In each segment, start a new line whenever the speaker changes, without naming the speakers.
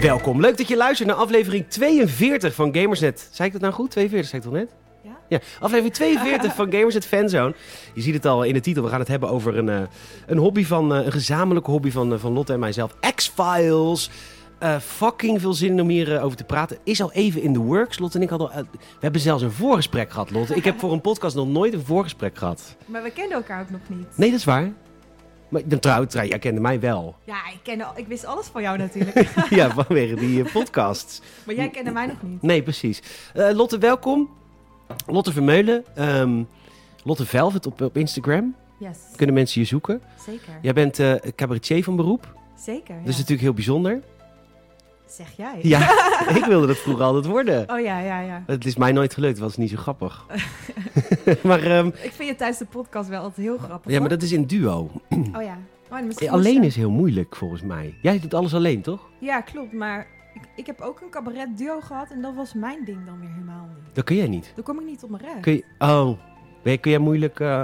Welkom. Leuk dat je luistert naar aflevering 42 van Gamersnet. Zei ik dat nou goed? 42 zei ik toch net?
Ja.
aflevering 42 van Gamersnet Fanzone. Je ziet het al in de titel. We gaan het hebben over een, eh, een hobby van, eh, een gezamenlijke hobby van, eh, van Lotte en mijzelf. X-Files. Eh, fucking veel zin in om hier eh, over te praten. Is al even in the works. Lotte en ik hadden. al, eh, we hebben zelfs een voorgesprek gehad, Lotte. Ik heb voor een podcast nog nooit een voorgesprek gehad.
Maar we kenden elkaar ook nog niet.
Nee, dat is waar. Maar dan trouw, trouw, jij kende mij wel.
Ja, ik, kende, al- ik wist alles van jou natuurlijk.
ja, vanwege die eh, podcasts.
maar jij kende mij nog niet.
Nee, precies. Eh, Lotte, welkom. Lotte Vermeulen. ehm, Lotte Velvet op, op Instagram.
Yes,
Kunnen mensen je zoeken.
zeker.
Jij bent eh cabaretier van beroep. dus Dat
Zeker, ja.
is natuurlijk heel bijzonder.
Zeg jij.
Ja, ik wilde dat vroeger altijd worden.
Oh ja, ja, ja.
Het is mij nooit gelukt, het was niet zo grappig. maar, ehm,
Ik vind je tijdens de podcast wel altijd heel grappig.
ja, maar
hoor.
dat is in duo.
Oh ja. Oh, en misschien
Alleen
moest-
is heel moeilijk volgens mij. Jij doet alles alleen, toch?
Ja, klopt. Maar ik, ik heb ook een cabaret duo gehad en dat was mijn ding dan weer helemaal niet.
Dat kun jij niet.
Dan kom ik niet op mijn recht.
Kun je, oh, ben je- kun jij moeilijk eh,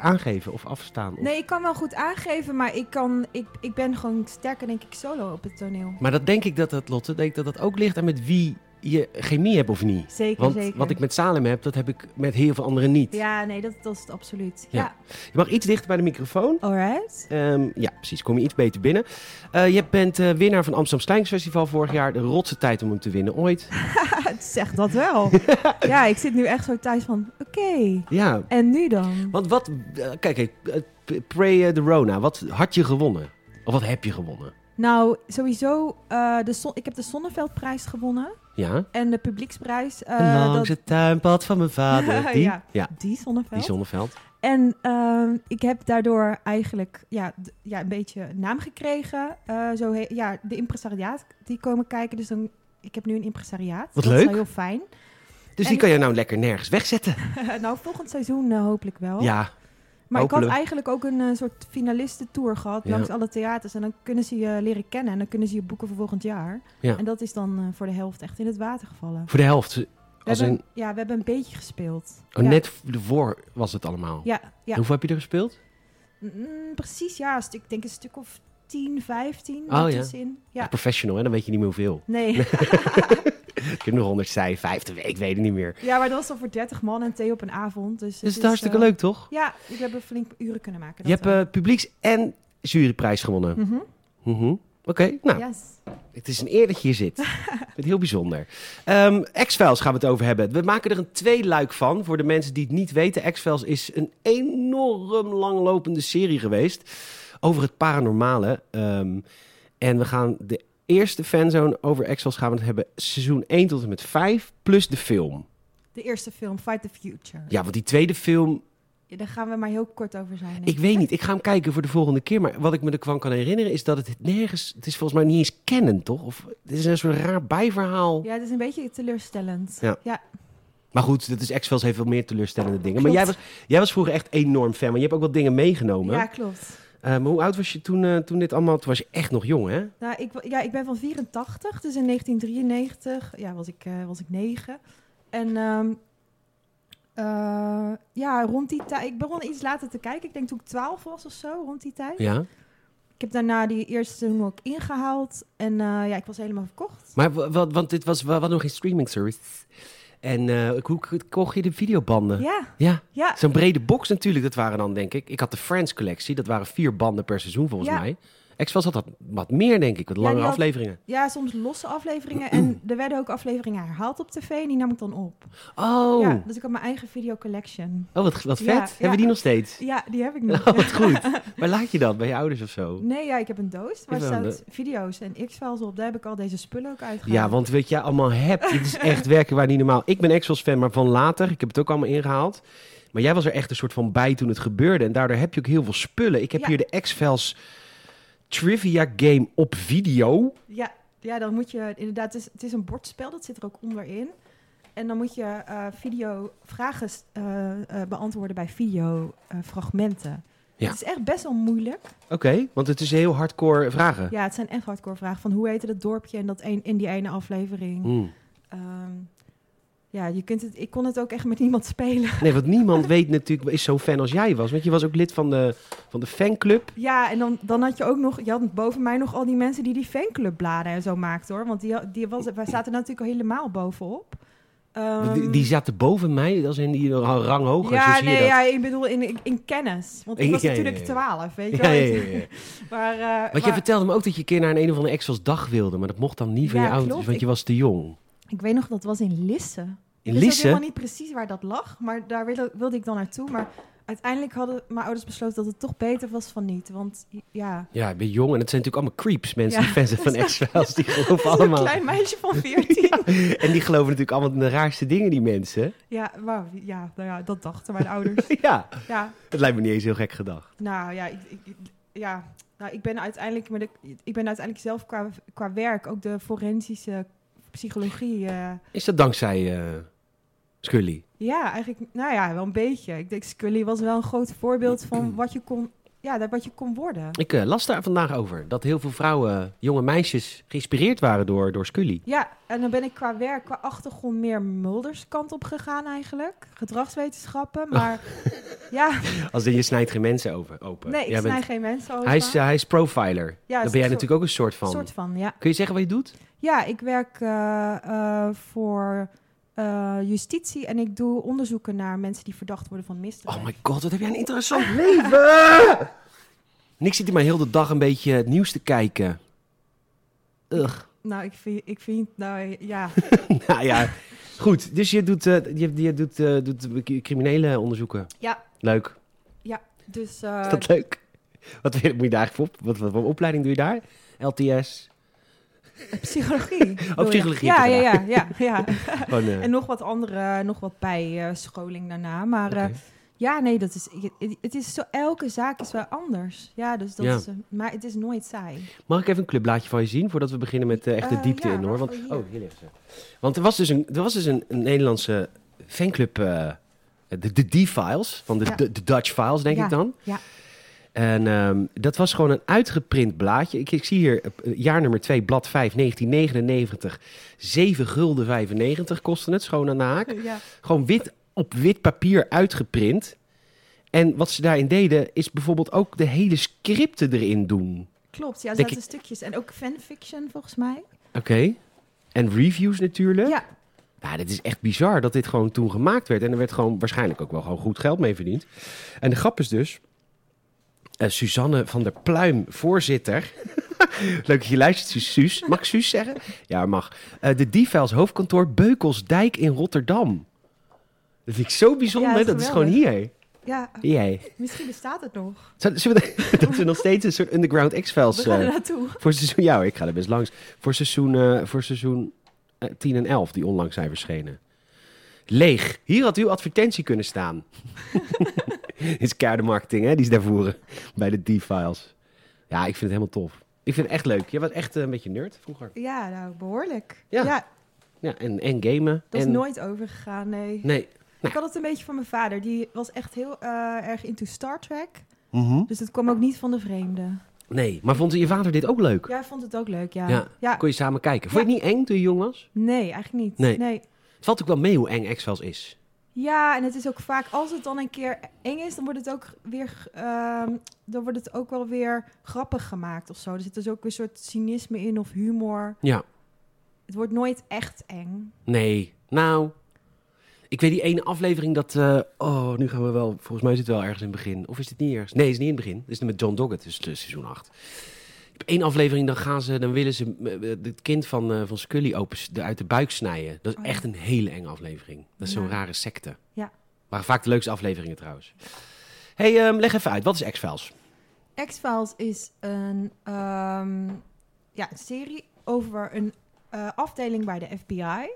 aangeven of afstaan? Of-
Nee, ik kan wel goed aangeven, maar ik, kan, ik, ik ben gewoon sterker denk ik solo op het toneel.
Maar dat denk ik dat dat, Lotte, denk ik dat dat ook ligt aan met wie je chemie hebt of niet.
Zeker,
Want
zeker.
wat ik met Salem heb, dat heb ik met heel veel anderen niet.
Ja, nee, dat, dat is het absoluut.
Ja.
Ja.
Je mag iets dichter bij de microfoon.
Alright.
Ehm, ja, precies. Kom je iets beter binnen. Eh, je bent eh, winnaar van Amsterdam Slijngsfestival vorig jaar. De rotse tijd om hem te winnen ooit.
Zeg dat wel. ja, ik zit nu echt zo thuis van, oké,
Ja,
en nu dan?
want wat... eh, kijk, kijk eh, p- Pray eh, the Rona. Wat had je gewonnen? Of wat heb je gewonnen?
Nou, sowieso, eh, de zon, ik heb de Zonneveldprijs gewonnen
Ja?
en de publieksprijs. eh,
Langs
dat-
het tuinpad van mijn vader. ah, Die?
Ja.
ja.
Die Zonneveld.
Die Zonneveld.
En ehm, ik heb daardoor eigenlijk ja, d- ja, een beetje een naam gekregen. Eh, zo he- ja, de impresariaat, die komen kijken. Dus dan, ik heb nu een impresariaat.
Wat
dat is wel
leuk.
heel fijn.
Dus
En-
die kan je nou lekker nergens wegzetten.
nou, volgend seizoen eh, hopelijk wel.
Ja,
Maar ik had
Hopelijk.
eigenlijk ook een eh, soort finalistentour gehad
Ja.
langs alle theaters. En dan kunnen ze je leren kennen en dan kunnen ze je boeken voor volgend jaar.
Ja.
En dat is dan eh, voor de helft echt in het water gevallen.
Voor de helft.
We
Als
hebben,
een,
Ja, we hebben een beetje gespeeld.
oh,
ja.
Net v- voor was het allemaal.
Ja, ja.
Hoeveel heb je er gespeeld?
Mm, precies, ja. een stuk- Ik denk een stuk of 10, 15.
Oh, ja.
daartussenin. ja.
Professional, hè? Dan weet je niet meer hoeveel.
Nee,
Ik heb nog 100 zij, 50, ik weet het niet meer.
ja, maar dat was dan voor 30 man en thee op een avond. Dus het
Dus het is hartstikke
eh,
leuk, toch?
Ja, ik heb er flink uren kunnen maken.
Je hebt
wel.
eh, publieks- en juryprijs gewonnen.
Mhm.
Mhm. Oké, nou,
Yes.
het is een eer dat je hier zit. Ik vind het heel bijzonder. Ehm, X-Files gaan we het over hebben. We maken er een tweeluik van. Voor de mensen die het niet weten, X-Files is een enorm langlopende serie geweest over het paranormale. Ehm, en we gaan de eerste fanzone over X-Files gaan we het hebben seizoen 1 tot en met 5, plus de film.
De eerste film, Fight the Future.
Ja, want die tweede film,
Ja, Daar gaan we maar heel kort over zijn. denk
ik weet niet. Ik ga hem kijken voor de volgende keer. Maar wat ik me ervan kan herinneren is dat het nergens... Het is volgens mij niet eens kennen, toch? Of het is een soort raar bijverhaal.
Ja, het is een beetje teleurstellend.
Ja. Maar goed, dat is X-Files heeft wel meer teleurstellende dingen. Maar jij
Klopt.
was, jij was vroeger echt enorm fan, want je hebt ook wat dingen meegenomen.
Ja, klopt.
Eh, maar hoe oud was je toen, eh, toen dit allemaal... Toen was je echt nog jong, hè?
Nou, ik, wa- ja, ik ben van 84, dus in 1993 ja, was, ik, eh, was ik 9. En ehm, eh, ja, rond die tijd. Ik begon iets later te kijken. Ik denk toen ik 12 was of zo, rond die tijd.
Ja.
Ik heb daarna die eerste seizoen ook ingehaald. En eh, ja, ik was helemaal verkocht.
Maar wa- wa- want dit was wat nog geen streaming service. En eh, hoe k- kocht je de videobanden?
Ja,
Ja,
ja.
zo'n brede box natuurlijk. Dat waren dan, denk ik... Ik had de Friends collectie. Dat waren vier banden per seizoen, volgens
Ja.
mij. X-Files had dat wat meer, denk ik. Wat
Ja,
langere
die had-
afleveringen.
ja, soms losse afleveringen. En er werden ook afleveringen herhaald op tv. En die nam ik dan op.
Oh,
Ja, dus ik had mijn eigen video collection.
oh wat, wat vet.
Ja,
Hebben
ja.
we die nog steeds?
Ja, die heb ik nog.
Oh, wat goed. Waar laat je dat? Bij je ouders of zo?
Nee, ja, ik heb een doos waar
Ik wel,
staat video's en X-Files op. Daar heb ik al deze spullen ook uitgehaald.
Ja, want weet jij allemaal hebt, dit is echt werken waar niet normaal. Ik ben Exos fan, maar van later. Ik heb het ook allemaal ingehaald. Maar jij was er echt een soort van bij toen het gebeurde. En daardoor heb je ook heel veel spullen. Ik heb
Ja.
hier de X-Files trivia game op video.
Ja, ja, dan moet je inderdaad... Het is, het is een bordspel, dat zit er ook onderin. En dan moet je eh, video vragen eh, eh, beantwoorden bij videofragmenten. fragmenten.
Ja.
Het is echt best wel moeilijk.
Oké, want het is heel hardcore vragen.
Ja, het zijn echt
Hm.
hardcore vragen. Van hoe heette dat dorpje en dat een, in die ene aflevering?
Hmm.
Ehm, Ja, je kunt het, ik kon het ook echt met niemand spelen.
Nee, want niemand weet natuurlijk, is zo fan als jij was. Want je was ook lid van de, van de fanclub.
Ja, en dan, dan had je ook nog, je had boven mij nog al die mensen die die fanclubbladen en zo maakten hoor. Want die, die was, wij zaten natuurlijk al helemaal bovenop. Ehm,
die, die zaten boven mij, dat zijn die een rang hoger. zo
ja,
zie je
nee,
dat.
ja, ik bedoel in, in kennis. Want ik was
Ja, ja, ja,
natuurlijk
ja.
12, weet je
Ja,
wel.
ja, ja, ja.
Maar, eh,
Want
maar-
jij vertelde me ook dat je een keer naar een, een of andere Exos dag wilde. Maar dat mocht dan niet van
Ja,
je ouders,
klopt.
want je
Ik-
was te jong.
ik weet nog, dat was in Lisse.
In
Ik wist ook
Lisse?
helemaal niet precies waar dat lag, maar daar wilde, wilde ik dan naartoe. Maar uiteindelijk hadden mijn ouders besloten dat het toch beter was van niet. Want ja,
Ja, ik ben jong en het zijn natuurlijk allemaal creeps. Mensen
Ja.
die fans zijn van X-Files, die geloven
een
allemaal.
klein meisje van 14. ja.
En die geloven natuurlijk allemaal de raarste dingen, die mensen.
maar, ja, nou ja, dat dachten mijn ouders.
Ja,
Ja,
het lijkt me niet eens heel gek gedacht.
nou ja, ik, ik, ik- ja. Nou, ik ben uiteindelijk, met de, ik ben uiteindelijk zelf qua, qua werk ook de forensische psychologie. eh,
Is dat dankzij eh Scully?
Ja, eigenlijk, nou ja, wel een beetje. Ik denk, Scully was wel een groot voorbeeld van wat je kon, ja, dat- wat je kon worden.
Ik eh, las daar vandaag over dat heel veel vrouwen, jonge meisjes, geïnspireerd waren door, door Scully.
Ja, en dan ben ik qua werk, qua achtergrond meer Mulders kant op gegaan eigenlijk. Gedragswetenschappen, maar ja,
Als in je snijdt geen mensen over, open.
nee, ik
Jij
snij
bent-
geen mensen over.
hij, is, eh, hij is profiler.
ja,
Daar ben jij
een soort-
natuurlijk ook een soort van.
soort van, ja.
Kun je zeggen wat je doet?
Ja, ik werk eh, eh, voor eh, justitie en ik doe onderzoeken naar mensen die verdacht worden van misdrijven.
Oh my god, wat heb jij een interessant leven! Niks zit hier maar heel de dag een beetje het nieuws te kijken. Ugh.
Nou, ik vind, ik vind, nou ja,
nou ja, goed. Dus je doet, eh, je, je doet, eh, doet criminele onderzoeken.
ja,
Leuk.
dus... eh,
Is dat leuk? Wat wil- moet je daar eigenlijk voor op? Wat, wat voor opleiding doe je daar? LTS?
Psychologie. bedoel je?
Oh, psychologie
Ja,
heb je
ja, ja, ja, ja.
Gewoon, eh,
En nog wat andere, nog wat bijscholing daarna. Maar eh,
oké.
ja, nee, dat is, je- het is zo, elke zaak is wel anders. Ja, dus dat
Ja.
is, eh, maar het is nooit saai.
Mag ik even een clubblaadje van je zien voordat we beginnen met eh, echt de
Eh,
diepte
ja,
in hoor? Want,
waarvoor hier?
oh, hier ligt ze. Want er was dus een, er was dus een, een Nederlandse fanclub, eh, de, de D-Files, van de,
Ja.
de, de Dutch Files denk
Ja,
ik dan.
ja.
En ehm, dat was gewoon een uitgeprint blaadje. Ik, ik zie hier eh, jaar nummer 2, blad 5, 1999. 7 gulden 95 kostte het, schoon aan de haak.
Ja.
Gewoon wit op wit papier uitgeprint. En wat ze daarin deden, is bijvoorbeeld ook de hele scripten erin doen.
Klopt, ja, er
Denk
zaten stukjes. En ook fanfiction volgens mij.
Oké. En reviews natuurlijk. Ja.
Ja,
dit is echt bizar dat dit gewoon toen gemaakt werd. En er werd gewoon waarschijnlijk ook wel gewoon goed geld mee verdiend. En de grap is dus... eh, Suzanne van der Pluim, voorzitter. Leuk dat je luistert, Su- Suus. Mag ik Suus zeggen? Ja, mag. Eh, de Diefels hoofdkantoor Beukelsdijk in Rotterdam. Dat vind ik zo bijzonder.
Ja, dat
dat,
is
is gewoon hier.
ja,
Jee.
misschien bestaat het nog.
Zou- Zullen we dat we nog steeds een soort underground
We
X-Files...
gaan
eh,
er naartoe.
voor seizoen, ja, hoor, ik ga er best langs. Voor seizoen, eh, voor seizoen eh, 10 en 11, die onlangs zijn verschenen. Leeg. Hier had uw advertentie kunnen staan. Dit is keiharde marketing, hè? Die is daarvoor bij de D-files. Ja, ik vind het helemaal tof. Ik vind het echt leuk. Jij was echt eh, een beetje nerd vroeger.
Ja, nou, behoorlijk.
Ja.
Ja,
Ja, en, en gamen.
dat is
en...
nooit overgegaan, nee.
Nee.
Ik had het een beetje van mijn vader. Die was echt heel eh, erg into Star Trek.
Mhm.
Dus het kwam ook niet van de vreemde.
Nee. Maar vond je vader dit ook leuk?
Jij vond het ook leuk, ja.
Ja. Kon je samen kijken. Vond je het niet eng toen je jong was?
Nee, eigenlijk niet.
Nee.
nee.
Het valt ook wel mee hoe eng X-Files is.
Ja, en het is ook vaak, als het dan een keer eng is, dan wordt het ook weer, ehm, dan wordt het ook wel weer grappig gemaakt of zo. Er zit dus ook een soort cynisme in of humor.
Ja.
Het wordt nooit echt eng.
Nee, nou. Ik weet die ene aflevering dat. eh, oh, nu gaan we wel. Volgens mij is het wel ergens in het begin. Of is het niet ergens? Nee, het is niet in het begin. Het is met John Doggett, dus eh, seizoen 8. Op één aflevering dan gaan ze, dan willen ze eh, eh, het kind van, eh, van Scully open, de- uit de buik snijden. Dat is
Oh ja.
echt een hele enge aflevering. Dat is zo'n
Ja.
rare secte.
Ja.
Waren vaak de leukste afleveringen trouwens. hey, ehm, leg even uit. Wat is X-Files?
Oh. X-Files is een ehm, ja, een serie over een eh, afdeling bij de FBI.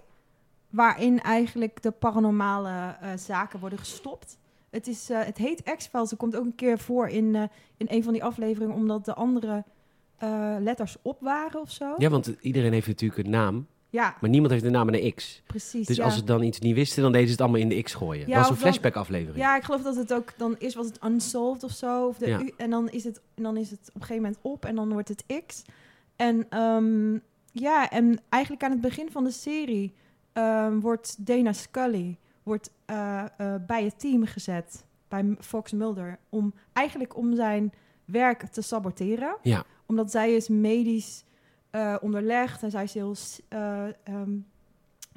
Waarin eigenlijk de paranormale eh, zaken worden gestopt. Het, is, eh, het heet X-Files. Het komt ook een keer voor in, eh, in een van die afleveringen. Omdat de andere eh, letters op waren of zo.
Ja, want iedereen heeft natuurlijk een naam,
Ja,
maar niemand heeft een naam en een X.
precies.
Dus
ja.
als ze dan iets niet wisten, dan deden ze het allemaal in de X gooien.
Ja,
dat was een
of dan-
flashback-aflevering.
Ja, ik geloof dat het ook dan eerst was het unsolved of zo. Of de
Ja.
U, en dan is, het, en dan is het op een gegeven moment op en dan wordt het X. En ehm, ja, en eigenlijk aan het begin van de serie ehm, wordt Dana Scully wordt, eh, eh, bij het team gezet, bij Fox Mulder, om eigenlijk om zijn werk te saboteren.
Ja.
Omdat zij is medisch eh, onderlegd en zij is heel... s- eh, ehm,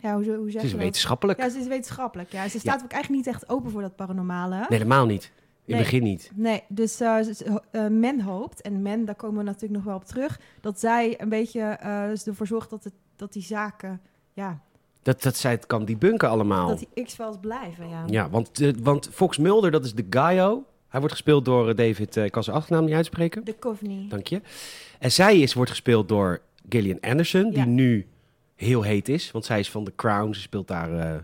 ja, hoe, hoe zeg
Het is
je dat?
wetenschappelijk.
Ja, ze is wetenschappelijk. Ja. Ze staat ook eigenlijk niet echt open voor dat paranormale.
Nee, helemaal niet. In het
Nee.
begin niet.
Nee, dus eh, ze- ze- eh, men hoopt, en men, daar komen we natuurlijk nog wel op terug, dat zij een beetje eh, dus ervoor zorgt dat, het, dat die zaken, ja,
Dat, dat zij het kan debunken allemaal.
dat die X-Files blijven. Ja.
Nou. Ja, want, eh, want Fox Mulder, dat is de Gaio. Hij wordt gespeeld door eh, David, eh, ik kan zijn achternaam niet uitspreken.
De Coveney.
Dank je. En zij is, wordt gespeeld door Gillian Anderson, die
Ja.
nu heel heet is. Want zij is van The Crown. Ze speelt daar, eh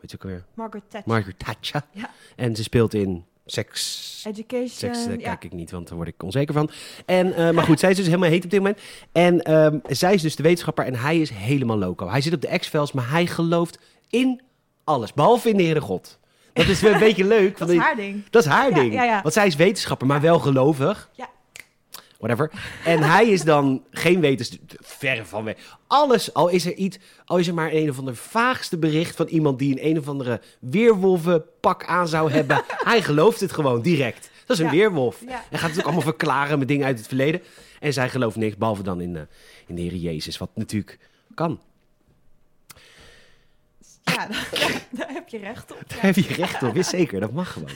weet je ook weer,
Margaret Thatcher.
Margaret Thatcher.
Ja.
En ze speelt in Sex...
Education.
Seks eh,
ja.
kijk ik niet, want daar word ik onzeker van. En, eh, maar goed, zij is dus helemaal heet op dit moment. En ehm, zij is dus de wetenschapper en hij is helemaal loco. Hij zit op de X-Files, maar hij gelooft in alles, behalve in de Heere God. Dat is weer een beetje leuk.
dat
want
is haar ding.
dat is haar
Ja,
ding.
ja, ja.
Want zij is wetenschapper, maar wel gelovig.
Ja.
Whatever. En hij is dan geen wetens... Verre van weg. Alles, al is er iets... Al is er maar een of ander vaagste bericht van iemand... die een een of andere weerwolvenpak aan zou hebben. hij gelooft het gewoon direct. Dat is een
Ja.
weerwolf.
Ja.
En gaat het ook allemaal verklaren met dingen uit het verleden. En zij gelooft niks, behalve dan in, eh, in de Heer Jezus. Wat natuurlijk kan.
Ja, daar, daar heb je recht op.
Daar
Ja.
heb je recht op, is zeker. Dat mag gewoon.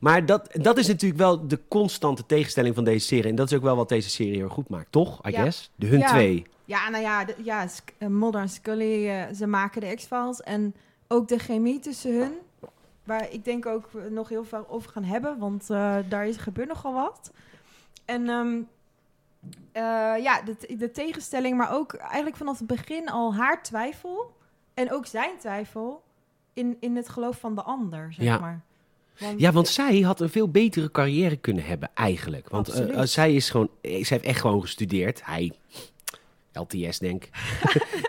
Maar dat, dat is natuurlijk wel de constante tegenstelling van deze serie. En dat is ook wel wat deze serie heel goed maakt, toch? I
Ja.
guess. De hun
Ja.
twee.
Ja, nou ja, de- ja Sc- eh, Mulder en Scully, eh, ze maken de X-Files. En ook de chemie tussen hun, waar ik denk ook we nog heel veel over gaan hebben, want eh, daar is, gebeurt nogal wat. En ehm, eh, ja, de, t- de tegenstelling, maar ook eigenlijk vanaf het begin al haar twijfel en ook zijn twijfel in, in het geloof van de ander, zeg
Ja.
maar. Want,
Ja, want zij had een veel betere carrière kunnen hebben eigenlijk. Want eh,
Absoluut.
eh, zij is gewoon, eh, zij heeft echt gewoon gestudeerd. Hij, LTS denk ik.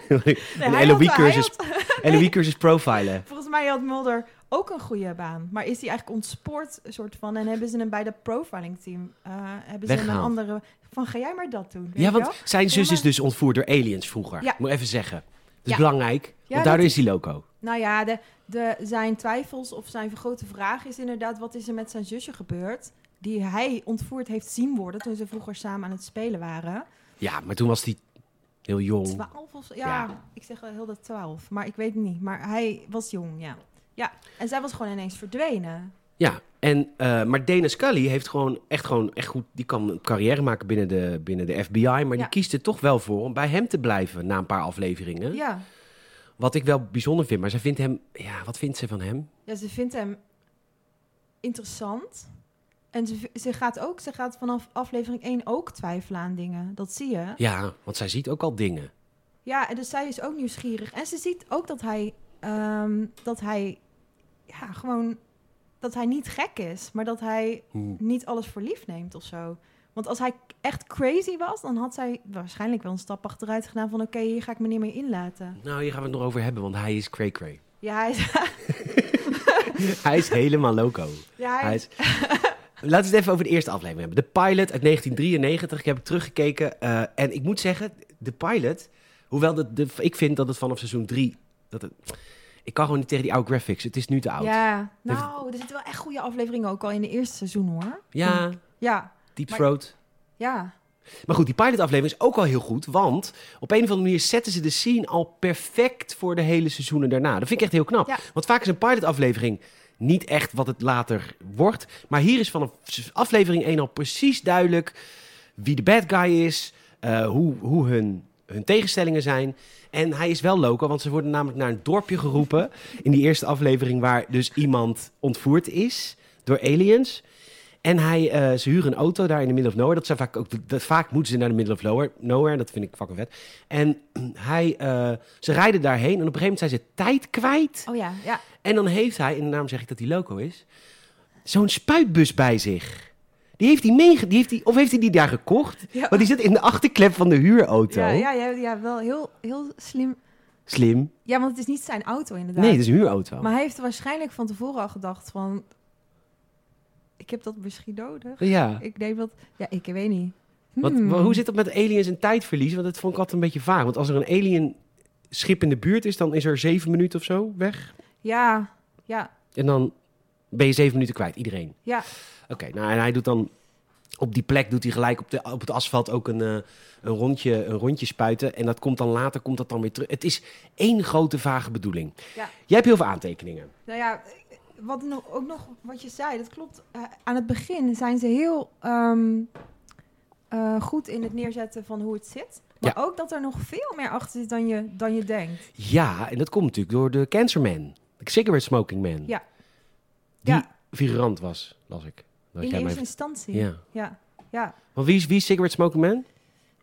Nee,
een
hij had- hij
LOE-cursus
had-
LOE-cursus profilen.
Volgens mij had Mulder ook een goede baan. Maar is hij eigenlijk ontspoord, soort van? En hebben ze hem bij dat profiling team... eh, hebben ze hem een
Weggehaald.
andere... Van, ga jij maar dat doen? weet
Ja,
je
want
wel?
zijn zus
maar-
is dus ontvoerd door aliens vroeger.
Ja.
Moet even zeggen. Dat is
Ja.
belangrijk, want
dat
daardoor
is-
is hij loco.
Nou ja, de, de, zijn twijfels of zijn grote vraag is inderdaad... wat is er met zijn zusje gebeurd... die hij ontvoerd heeft zien worden... toen ze vroeger samen aan het spelen waren.
Ja, maar toen was hij heel jong.
Twaalf of zo? Ja,
Oh. Ja.
ik zeg wel heel dat twaalf. Maar ik weet het niet. Maar hij was jong, ja. Ja, en zij was gewoon ineens verdwenen.
Ja, en, eh, maar Dana Scully heeft gewoon echt, gewoon echt goed... Die kan een carrière maken binnen de, binnen de FBI... maar die
Ja.
kiest er toch wel voor om bij hem te blijven na een paar afleveringen.
Ja.
Wat ik wel bijzonder vind, maar zij vindt hem... Ja, wat vindt ze van hem?
Ja, ze vindt hem interessant. En ze, v- ze gaat ook, ze gaat vanaf aflevering 1 ook twijfelen aan dingen. Dat zie je.
Ja, want zij ziet ook al dingen.
Ja, en dus zij is ook nieuwsgierig. En ze ziet ook dat hij, ehm, dat hij, ja, gewoon, dat hij niet gek is. Maar dat hij
Hm.
niet alles voor lief neemt of zo. Want als hij k- echt crazy was, dan had zij waarschijnlijk wel een stap achteruit gedaan van... oké, hier ga ik me niet meer inlaten.
Nou, hier gaan we het nog over hebben, want hij is cray-cray.
Ja, hij is...
hij is helemaal loco.
Ja, hij
Hij
is-
is... Laten we het even over de eerste aflevering hebben. De pilot uit 1993. Ik heb het teruggekeken. eh, en ik moet zeggen, de pilot... Hoewel de, de, ik vind dat het vanaf seizoen 3... Dat het, ik kan gewoon niet tegen die oude graphics. Het is nu te oud.
ja.
Heeft-
nou, er zitten wel echt goede afleveringen ook al in de eerste seizoen, hoor.
Ja,
Ja,
Deep
Maar-
Throat.
Ja,
Maar goed, die pilotaflevering is ook al heel goed. Want op een of andere manier zetten ze de scene al perfect voor de hele seizoenen daarna. Dat vind ik echt heel knap.
Ja.
Want vaak is een pilotaflevering niet echt wat het later wordt. Maar hier is vanaf aflevering 1 al precies duidelijk wie de bad guy is. eh, hoe, hoe hun, hun tegenstellingen zijn. En hij is wel loco, want ze worden namelijk naar een dorpje geroepen. in die eerste aflevering waar dus iemand ontvoerd is door aliens. En hij, eh, ze huren een auto daar in de middle of nowhere. Dat zijn vaak, ook, dat, vaak moeten ze naar de middle of nowhere, nowhere. Dat vind ik fucking vet. En hij, eh, ze rijden daarheen en op een gegeven moment zijn ze tijd kwijt.
oh ja, ja.
En dan heeft hij, en daarom zeg ik dat hij loco is, zo'n spuitbus bij zich. Die heeft hij meege... Die heeft hij, of heeft hij die daar gekocht?
Ja,
Want die zit in de achterklep van de huurauto.
ja, ja, ja, ja, wel heel, heel slim.
Slim.
Ja, want het is niet zijn auto inderdaad.
Nee, het is een huurauto.
Maar hij heeft er waarschijnlijk van tevoren al gedacht van... Ik heb dat misschien nodig.
Ja.
Ik neem dat... Ja, ik weet niet.
Want,
Hmm.
wa- hoe zit dat met aliens en tijdverlies? Want dat vond ik altijd een beetje vaag. Want als er een alien schip in de buurt is, dan is er zeven minuten of zo weg.
Ja, ja,
En dan ben je zeven minuten kwijt, iedereen.
ja.
Oké, nou en hij doet dan op die plek doet hij gelijk op, de, op het asfalt ook een, eh, een, rondje, een rondje spuiten. En dat komt dan later, komt dat dan weer terug. Het is één grote vage bedoeling.
Ja.
Jij hebt heel veel aantekeningen.
Nou ja, wat nog, ook nog wat je zei, dat klopt. Eh, aan het begin zijn ze heel ehm, eh, goed in het neerzetten van hoe het zit. Maar ook dat er nog veel meer achter zit dan je, dan je denkt.
Ja, en dat komt natuurlijk door de Cancer Man. De Cigarette Smoking Man.
Ja.
Die
Ja.
figurant was, las ik. Dat
In
jij
eerste
mij-
instantie.
Ja.
ja. ja.
Want wie is, wie is Cigarette Smoking Man?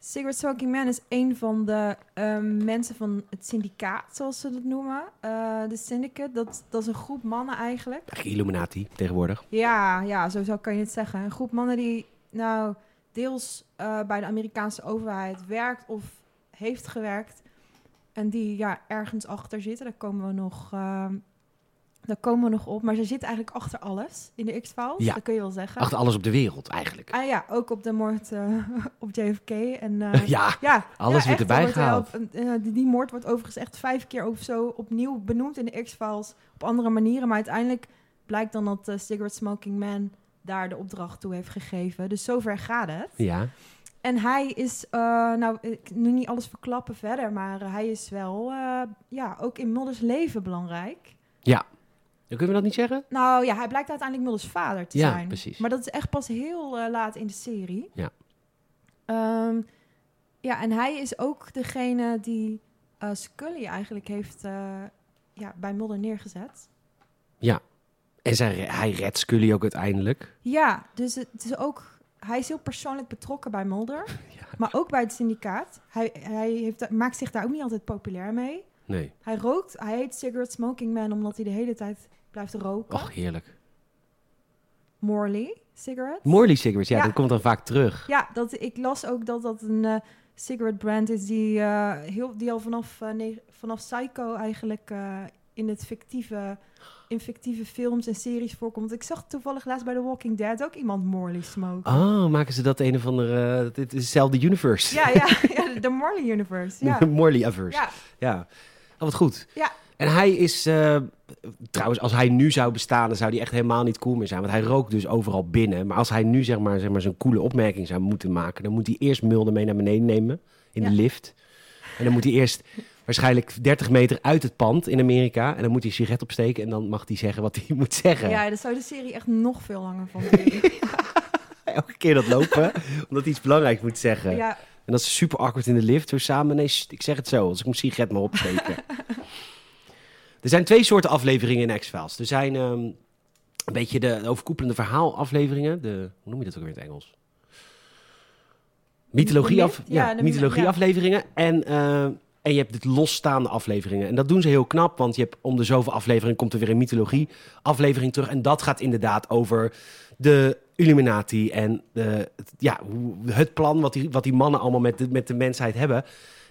Cigarette Smoking Man is een van de ehm, mensen van het syndicaat, zoals ze dat noemen. Eh, De syndicate, dat, dat is een groep mannen eigenlijk.
Eigenlijk Illuminati tegenwoordig.
Ja, ja, zo zou- kan je het zeggen. Een groep mannen die nou deels eh, bij de Amerikaanse overheid werkt of heeft gewerkt. En die ja, ergens achter zitten. Daar komen we nog, ehm, daar komen we nog op. Maar ze zitten eigenlijk achter alles in de X-Files.
Ja.
Dat kun je wel zeggen.
Achter alles op de wereld eigenlijk.
Ah ja, ook op de moord eh, op JFK. En, eh,
ja.
ja,
Alles
ja,
wordt
echt,
erbij
er wel-
gehaald.
en, eh, die, die moord wordt overigens echt vijf keer of zo opnieuw benoemd in de X-Files. Op andere manieren. Maar uiteindelijk blijkt dan dat eh Cigarette Smoking Man daar de opdracht toe heeft gegeven. Dus zover gaat het.
Ja.
En hij is, eh, nou, ik nu niet alles verklappen verder. Maar eh, hij is wel, eh, ja, ook in Mulder's leven belangrijk.
Dan kunnen we dat niet zeggen?
Nou ja, hij blijkt uiteindelijk Mulder's vader te
Ja,
zijn.
precies.
Maar dat is echt pas heel eh, laat in de serie.
Ja.
Ehm, ja, en hij is ook degene die eh, Scully eigenlijk heeft eh, ja, bij Mulder neergezet.
En zij, hij redt Scully ook uiteindelijk.
Ja, dus het is ook... Hij is heel persoonlijk betrokken bij Mulder,
Ja.
maar ook bij het syndicaat. Hij, hij heeft, da- maakt zich daar ook niet altijd populair mee.
Nee.
Hij rookt, hij heet Cigarette Smoking Man omdat hij de hele tijd blijft roken.
Och, heerlijk.
Morley, cigarette.
Morley cigarettes, ja,
Ja.
dat komt dan vaak terug.
Ja, dat, ik las ook dat dat een eh cigarette brand is die, eh, heel, die al vanaf, eh, ne- vanaf Psycho eigenlijk eh, in, het fictieve, in fictieve films en series voorkomt. Ik zag toevallig laatst bij The Walking Dead ook iemand Morley smoken.
Oh, maken ze dat een of andere... eh, dit is hetzelfde universe.
Ja, ja, ja, de Morley Oh. universe. Ja,
Morley-averse. Ja.
ja,
Oh, wat goed.
Ja.
En hij is... eh, trouwens, als hij nu zou bestaan, dan zou hij echt helemaal niet cool meer zijn. Want hij rookt dus overal binnen. Maar als hij nu zeg maar, zeg maar zo'n coole opmerking zou moeten maken... dan moet hij eerst Mulder mee naar beneden nemen in de
Ja.
lift. En dan moet hij eerst waarschijnlijk 30 meter uit het pand in Amerika... en dan moet hij een sigaret opsteken en dan mag hij zeggen wat hij moet zeggen.
ja, daar zou de serie echt nog veel langer van worden.
Elke keer dat lopen, omdat hij iets belangrijks moet zeggen.
Ja,
En dat is super awkward in de lift. Zo samen, nee, sst, ik zeg het zo, als ik mijn sigaret maar opsteken. er zijn twee soorten afleveringen in X-Files. Er zijn ehm, een beetje de overkoepelende verhaalafleveringen. De, hoe noem je dat ook weer in het Engels? Mythologie, af,
myth?
ja,
Ja, de-
mythologie
ja.
afleveringen. En, eh, en je hebt de losstaande afleveringen. En dat doen ze heel knap, want je hebt om de zoveel afleveringen komt er weer een mythologie aflevering terug. En dat gaat inderdaad over de Illuminati en de, het, ja, hoe- het plan wat die, wat die mannen allemaal met de, met de mensheid hebben.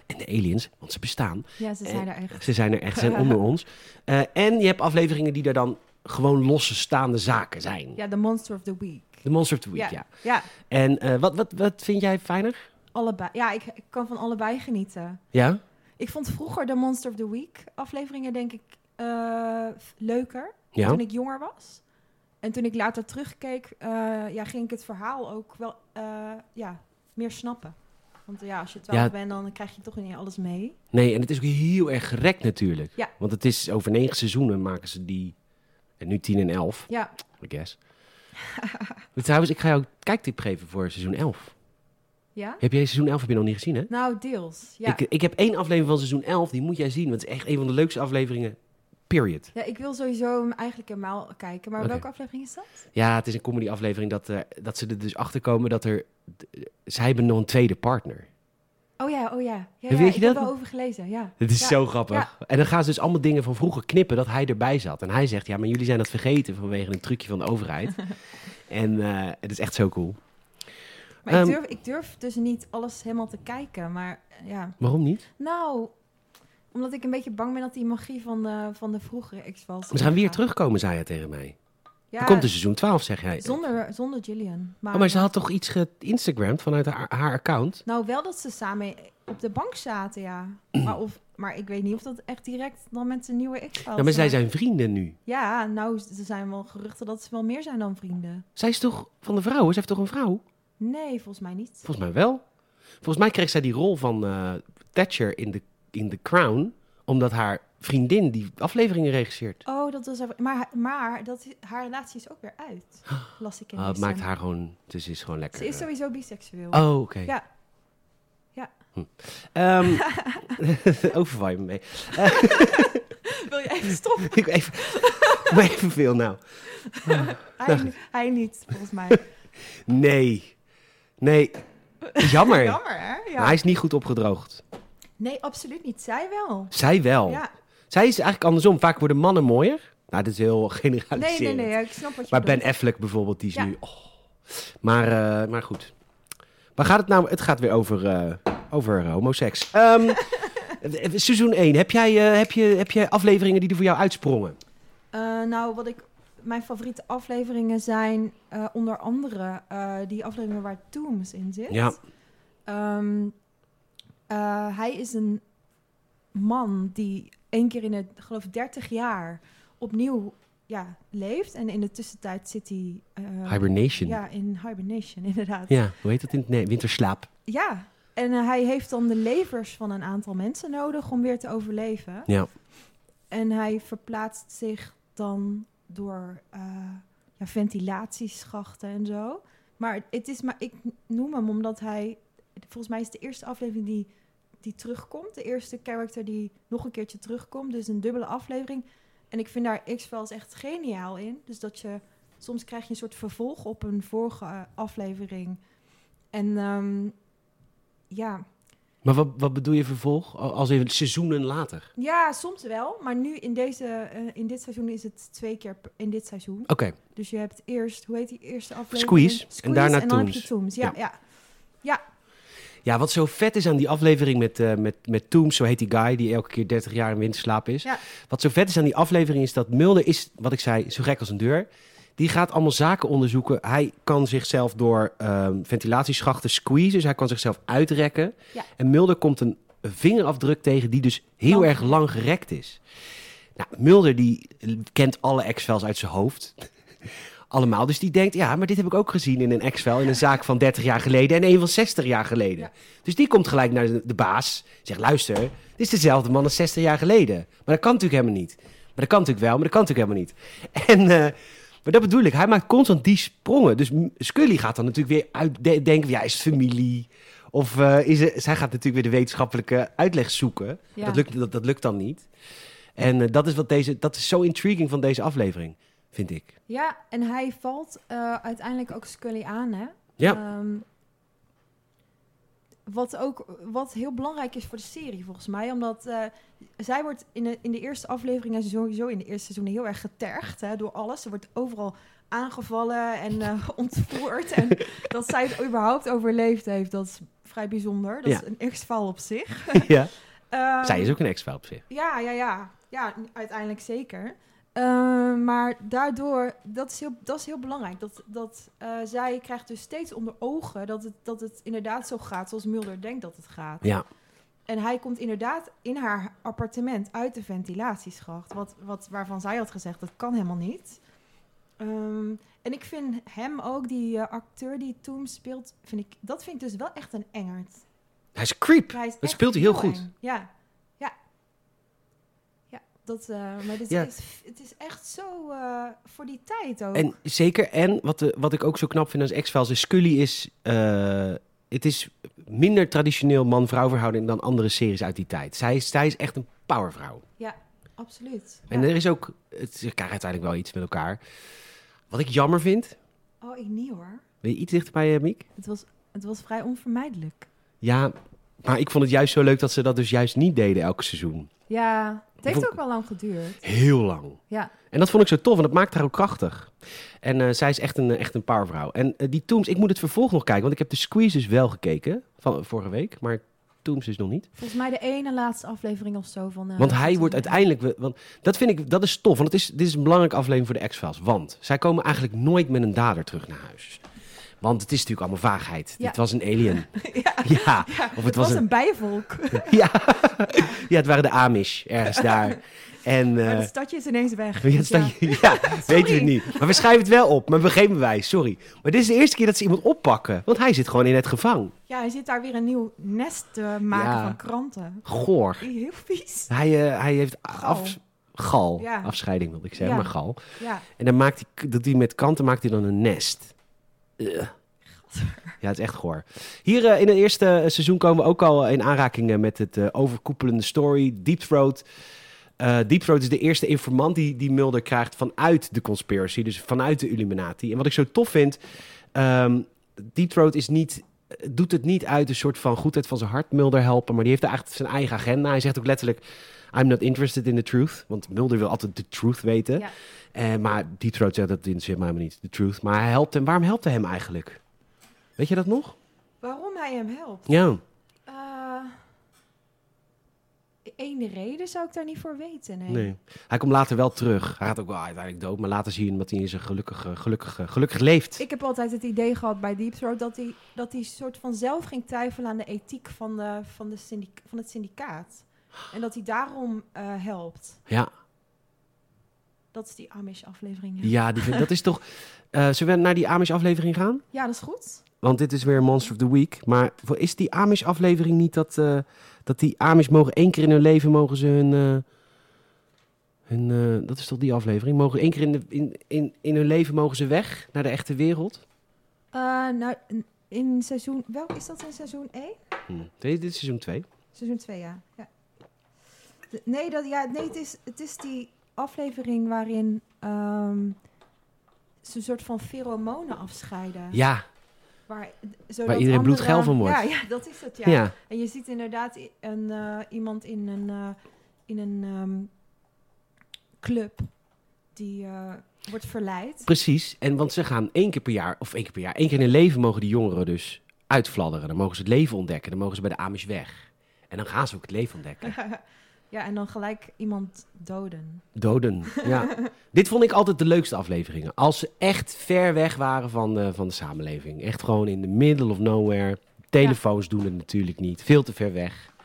En de aliens, want ze bestaan.
ja ze zijn er echt.
Ze zijn er echt, ze zijn onder ons. Eh, en je hebt afleveringen die er dan gewoon losse staande zaken zijn.
Ja, de Monster of the Week.
De Monster of the Week, ja.
Ja,
En eh, wat, wat, wat vind jij fijner?
allebei. Ja, ik, ik kan van allebei genieten.
Ja?
Ik vond vroeger de Monster of the Week afleveringen, denk ik, eh, f- leuker.
Ja?
Toen ik jonger was. En toen ik later terugkeek, eh, ja, ging ik het verhaal ook wel eh, ja, meer snappen. Want ja, als je twaalf
Ja.
bent, dan krijg je toch niet alles mee.
Nee, en het is ook heel erg gerekt natuurlijk.
Ja.
Want het is over negen seizoenen maken ze die... En nu tien en elf.
Ja,
I guess. Maar Trouwens, ik ga jou een kijktip geven voor seizoen 11.
ja?
Heb jij seizoen 11 heb je nog niet gezien, hè?
Nou, deels. Ja.
Ik, eh, ik heb één aflevering van seizoen 11, die moet jij zien. Want het is echt een van de leukste afleveringen, period.
ja, ik wil sowieso hem eigenlijk helemaal kijken. Maar
Oké.
welke aflevering is dat?
Ja, het is een comedy aflevering dat, eh, dat ze er dus achter komen dat er... d- zij hebben nog een tweede partner.
Oh ja, oh ja. ja,
En
ja
weet je
ik
dat?
heb wel over gelezen, ja.
Het is
Ja,
zo grappig. En dan gaan ze dus allemaal dingen van vroeger knippen dat hij erbij zat. En hij zegt, ja, maar jullie zijn dat vergeten vanwege een trucje van de overheid. en eh, het is echt zo cool.
Maar
Ehm,
ik, durf, ik durf dus niet alles helemaal te kijken. Maar eh, ja,
Waarom niet?
Nou, omdat ik een beetje bang ben dat die magie van de, van de vroegere X-Files...
Ze gaan weer
weggaat.
terugkomen, zei hij tegen mij. Er komt een seizoen 12, zeg jij.
zonder, zonder Jillian. Maar,
Oh, maar ze had toch iets geïnstagramd vanuit haar, haar account?
Nou, wel dat ze samen op de bank zaten, ja. maar, of, maar ik weet niet of dat echt direct dan met zijn nieuwe x
Ja, maar zij zijn vrienden nu.
Ja, nou, er zijn wel geruchten dat ze wel meer zijn dan vrienden.
Zij is toch van de vrouwen? Ze heeft toch een vrouw?
Nee, volgens mij niet.
Volgens mij wel. Volgens mij kreeg zij die rol van eh, Thatcher in The, in The Crown... omdat haar vriendin die afleveringen regisseert.
Oh, dat was... even- Maar, maar dat, haar relatie is ook weer uit, las ik in
Ah, het
deze.
maakt haar gewoon... Dus is gewoon lekker.
eh, Ze is
eh,
sowieso biseksueel.
Oh, oké.
Ja. Ja.
Hm. Ehm, overwaai me mee.
Wil je even stoppen?
Ik even, doe even veel nou.
Hij, hij niet, volgens mij.
Nee. Nee. Jammer.
Jammer, hè?
Maar
Ja.
hij is niet goed opgedroogd.
Nee, absoluut niet. Zij wel.
Zij wel.
Ja.
Zij is eigenlijk andersom. Vaak worden mannen mooier. Nou, dat is heel
Nee,
generaliserend.
nee, nee. ja, Ik snap wat je
Maar
bedoelt.
Ben Affleck bijvoorbeeld, die is
Ja.
nu... Oh. Maar, eh, maar goed. Waar gaat het nou? Het gaat weer over, eh, over eh, homoseks. Ehm, seizoen 1. Heb jij, eh, heb, je, heb je afleveringen die er voor jou uitsprongen?
Eh, nou, wat ik. Mijn favoriete afleveringen zijn eh, onder andere eh, die afleveringen waar Tooms in zit.
Ja.
Ehm, eh, hij is een man die één keer in het, geloof ik, 30 jaar opnieuw ja, leeft. En in de tussentijd zit hij. eh,
Hibernation. Ja.
ja, in hibernation, inderdaad.
hoe heet dat in het nee, winterslaap?
Ja, en eh, hij heeft dan de levers van een aantal mensen nodig om weer te overleven.
Ja.
En hij verplaatst zich dan door eh, ja, ventilatieschachten en zo. Maar het is maar, ik noem hem omdat hij, volgens mij is de eerste aflevering die, die terugkomt, de eerste character die nog een keertje terugkomt, dus een dubbele aflevering. En ik vind daar X-Files echt geniaal in. Dus dat je, soms krijg je een soort vervolg op een vorige eh, aflevering. En ehm, ja.
Maar wat, wat bedoel je vervolg? Al- Als in seizoenen later?
ja, soms wel. Maar nu in, deze, eh, in dit seizoen is het twee keer per- in dit seizoen.
Oké,
Dus je hebt eerst, hoe heet die eerste aflevering?
Squeeze, en daarna
en dan heb
Tombs.
je Tombs. Ja,
Ja.
ja.
Ja, wat zo vet is aan die aflevering met, eh met, met Tooms, zo heet die guy die elke keer 30 jaar in winterslaap is.
Ja.
Wat zo vet is aan die aflevering is dat Mulder is, wat ik zei, zo gek als een deur. Die gaat allemaal zaken onderzoeken. Hij kan zichzelf door ehm, ventilatieschachten squeezen, dus hij kan zichzelf uitrekken.
Ja.
En Mulder komt een vingerafdruk tegen die dus heel
Lang.
erg lang gerekt is. Nou, Mulder die kent alle X-files uit zijn hoofd. Allemaal. Dus die denkt, ja, maar dit heb ik ook gezien in een X-file. In een zaak van 30 jaar geleden en een van 60 jaar geleden.
Ja.
Dus die komt gelijk naar de, de baas. Zegt, luister, dit is dezelfde man als 60 jaar geleden. Maar dat kan natuurlijk helemaal niet. Maar dat kan natuurlijk wel, maar dat kan natuurlijk helemaal niet. En, eh, maar dat bedoel ik. Hij maakt constant die sprongen. Dus M- Scully gaat dan natuurlijk weer uitdenken. Ja, is het familie? Of eh, is het, zij gaat natuurlijk weer de wetenschappelijke uitleg zoeken.
Ja.
Dat, lukt, dat, dat lukt dan niet. En eh, dat, is wat deze, dat is zo intriguing van deze aflevering, vind ik.
Ja, en hij valt eh, uiteindelijk ook Scully aan, hè?
Ja.
Ehm, wat ook wat heel belangrijk is voor de serie, volgens mij. Omdat eh, zij wordt in de, in de eerste aflevering en sowieso in de eerste seizoenen heel erg getergd hè, door alles. Ze wordt overal aangevallen en eh, ontvoerd. en dat zij het überhaupt overleefd heeft, dat is vrij bijzonder. Dat
Ja.
is een x-val op zich.
ja.
Ehm,
Zij is ook een ex-vrouw op zich.
ja, ja, ja. Ja, uiteindelijk zeker. Eh, maar daardoor, dat is heel, dat is heel belangrijk. Dat, dat eh, zij krijgt dus steeds onder ogen dat het, dat het inderdaad zo gaat zoals Mulder denkt dat het gaat.
Ja.
En hij komt inderdaad in haar appartement uit de ventilatieschacht. Wat, wat, waarvan zij had gezegd, dat kan helemaal niet. Ehm, en ik vind hem ook, die eh, acteur die Toom speelt, vind ik, dat vind ik dus wel echt een engert.
Hij is een creep.
Hij is
Dat
echt
speelt hij heel goed.
eng. Ja, ja. Ja, dat, eh, maar dit
Ja.
is, het is echt zo eh, voor die tijd ook.
En zeker, en wat, de, wat ik ook zo knap vind als X-Files is... Scully is... eh, het is minder traditioneel man-vrouw verhouding dan andere series uit die tijd. Zij is, zij is echt een powervrouw.
Absoluut.
En
Ja.
er is ook... Het, ze krijgen uiteindelijk wel iets met elkaar. Wat ik jammer vind...
Oh, ik niet hoor.
Wil je iets dichterbij, eh, Miek?
Het was, het was vrij onvermijdelijk.
Ja, maar ik vond het juist zo leuk dat ze dat dus juist niet deden elk seizoen.
Ja, het heeft
Vond-
ook wel lang geduurd.
Heel lang.
Ja,
En dat vond ik zo tof, en dat maakt haar ook krachtig. En eh, zij is echt een, echt een powervrouw. En eh, die Tombs, ik moet het vervolg nog kijken, want ik heb de Squeeze dus wel gekeken van eh, vorige week. Maar Tombs is nog niet.
Volgens mij de ene laatste aflevering of zo van... eh,
Want hij
seizoen
wordt
één.
uiteindelijk. we- Want dat vind ik, dat is tof. Want het is, dit is een belangrijke aflevering voor de X-Files. Want zij komen eigenlijk nooit met een dader terug naar huis. Want het is natuurlijk allemaal vaagheid.
Ja.
Dit was een alien.
Ja,
ja.
ja,
het was
het, was,
een-
een, bijenvolk.
Ja. ja, het waren de Amish ergens daar. En.
Maar
eh,
het stadje is ineens weg.
Ja,
dus
het staat-
ja.
ja. weten we niet. Maar we schrijven het wel op, maar we geven wij, sorry. Maar dit is de eerste keer dat ze iemand oppakken, want hij zit gewoon in het gevang.
Ja, hij zit daar weer een nieuw nest te maken
Ja.
van kranten.
Goor.
Heel vies.
Hij, eh, hij heeft
Gal.
af, gal,
Ja.
afscheiding wilde ik zeggen,
Ja.
maar gal.
Ja,
En dan maakt hij, dat hij met kanten maakt hij dan een nest. Ugh. Ja, het is echt goor. Hier eh, in het eerste seizoen komen we ook al in aanraking eh, met het eh, overkoepelende story, Deep Throat. Eh, Deep Throat is de eerste informant die, die Mulder krijgt vanuit de conspiracy, dus vanuit de Illuminati. En wat ik zo tof vind, ehm Deep Throat is niet, eh, doet het niet uit een soort van goedheid van zijn hart Mulder helpen, maar die heeft eigenlijk zijn eigen agenda. Hij zegt ook letterlijk, I'm not interested in the truth, want Mulder wil altijd de truth weten.
Ja.
Eh, maar Deep Throat zegt dat interesseert mij helemaal niet, de truth. Maar hij helpt hem, waarom helpt hij hem eigenlijk? Weet je dat nog?
waarom hij hem helpt?
Ja.
Eh Eén reden zou ik daar niet voor weten. Nee.
Nee. Hij komt later wel terug. Hij gaat ook wel uiteindelijk dood, maar later zie je hem dat hij in zijn gelukkige, gelukkige, gelukkig leeft.
Ik heb altijd het idee gehad bij Deep Throat dat hij, dat hij soort van zelf ging twijfelen aan de ethiek van, de, van, de syndic- van het syndicaat. En dat hij daarom eh, helpt.
Ja,
Dat is die Amish-aflevering. Ja.
ja die vind- dat is toch... eh zullen we naar die Amish-aflevering gaan?
ja, dat is goed.
Want dit is weer Monster of the Week. Maar voor- is die Amish-aflevering niet dat, eh, dat die Amish mogen één keer in hun leven mogen ze hun... eh, hun eh, dat is toch die aflevering? Mogen één keer in, de, in, in, in hun leven mogen ze weg naar de echte wereld?
Eh, nou, in- in seizoen... Welk is dat in seizoen 1?
Hm. Dit dit is seizoen 2.
Seizoen 2, ja. ja. De- nee, dat, ja, nee het, is, het is die aflevering waarin ehm, ze een soort van pheromonen afscheiden.
Ja,
Waar, zodat
iedereen
anderen-
bloedgeil van wordt.
Ja, ja, dat is het,
ja.
ja. En je ziet inderdaad i- een, eh, iemand in een, eh, in een ehm, club die eh, wordt verleid.
Precies, en want ze gaan één keer per jaar, of één keer per jaar, één keer in hun leven mogen die jongeren dus uitfladderen. Dan mogen ze het leven ontdekken, dan mogen ze bij de Amish weg. En dan gaan ze ook het leven ontdekken.
ja, en dan gelijk iemand doden.
Doden, ja. Dit vond ik altijd de leukste afleveringen. Als ze echt ver weg waren van de, van de samenleving. Echt gewoon in the middle of nowhere. Telefoons doen het natuurlijk niet, veel te ver weg.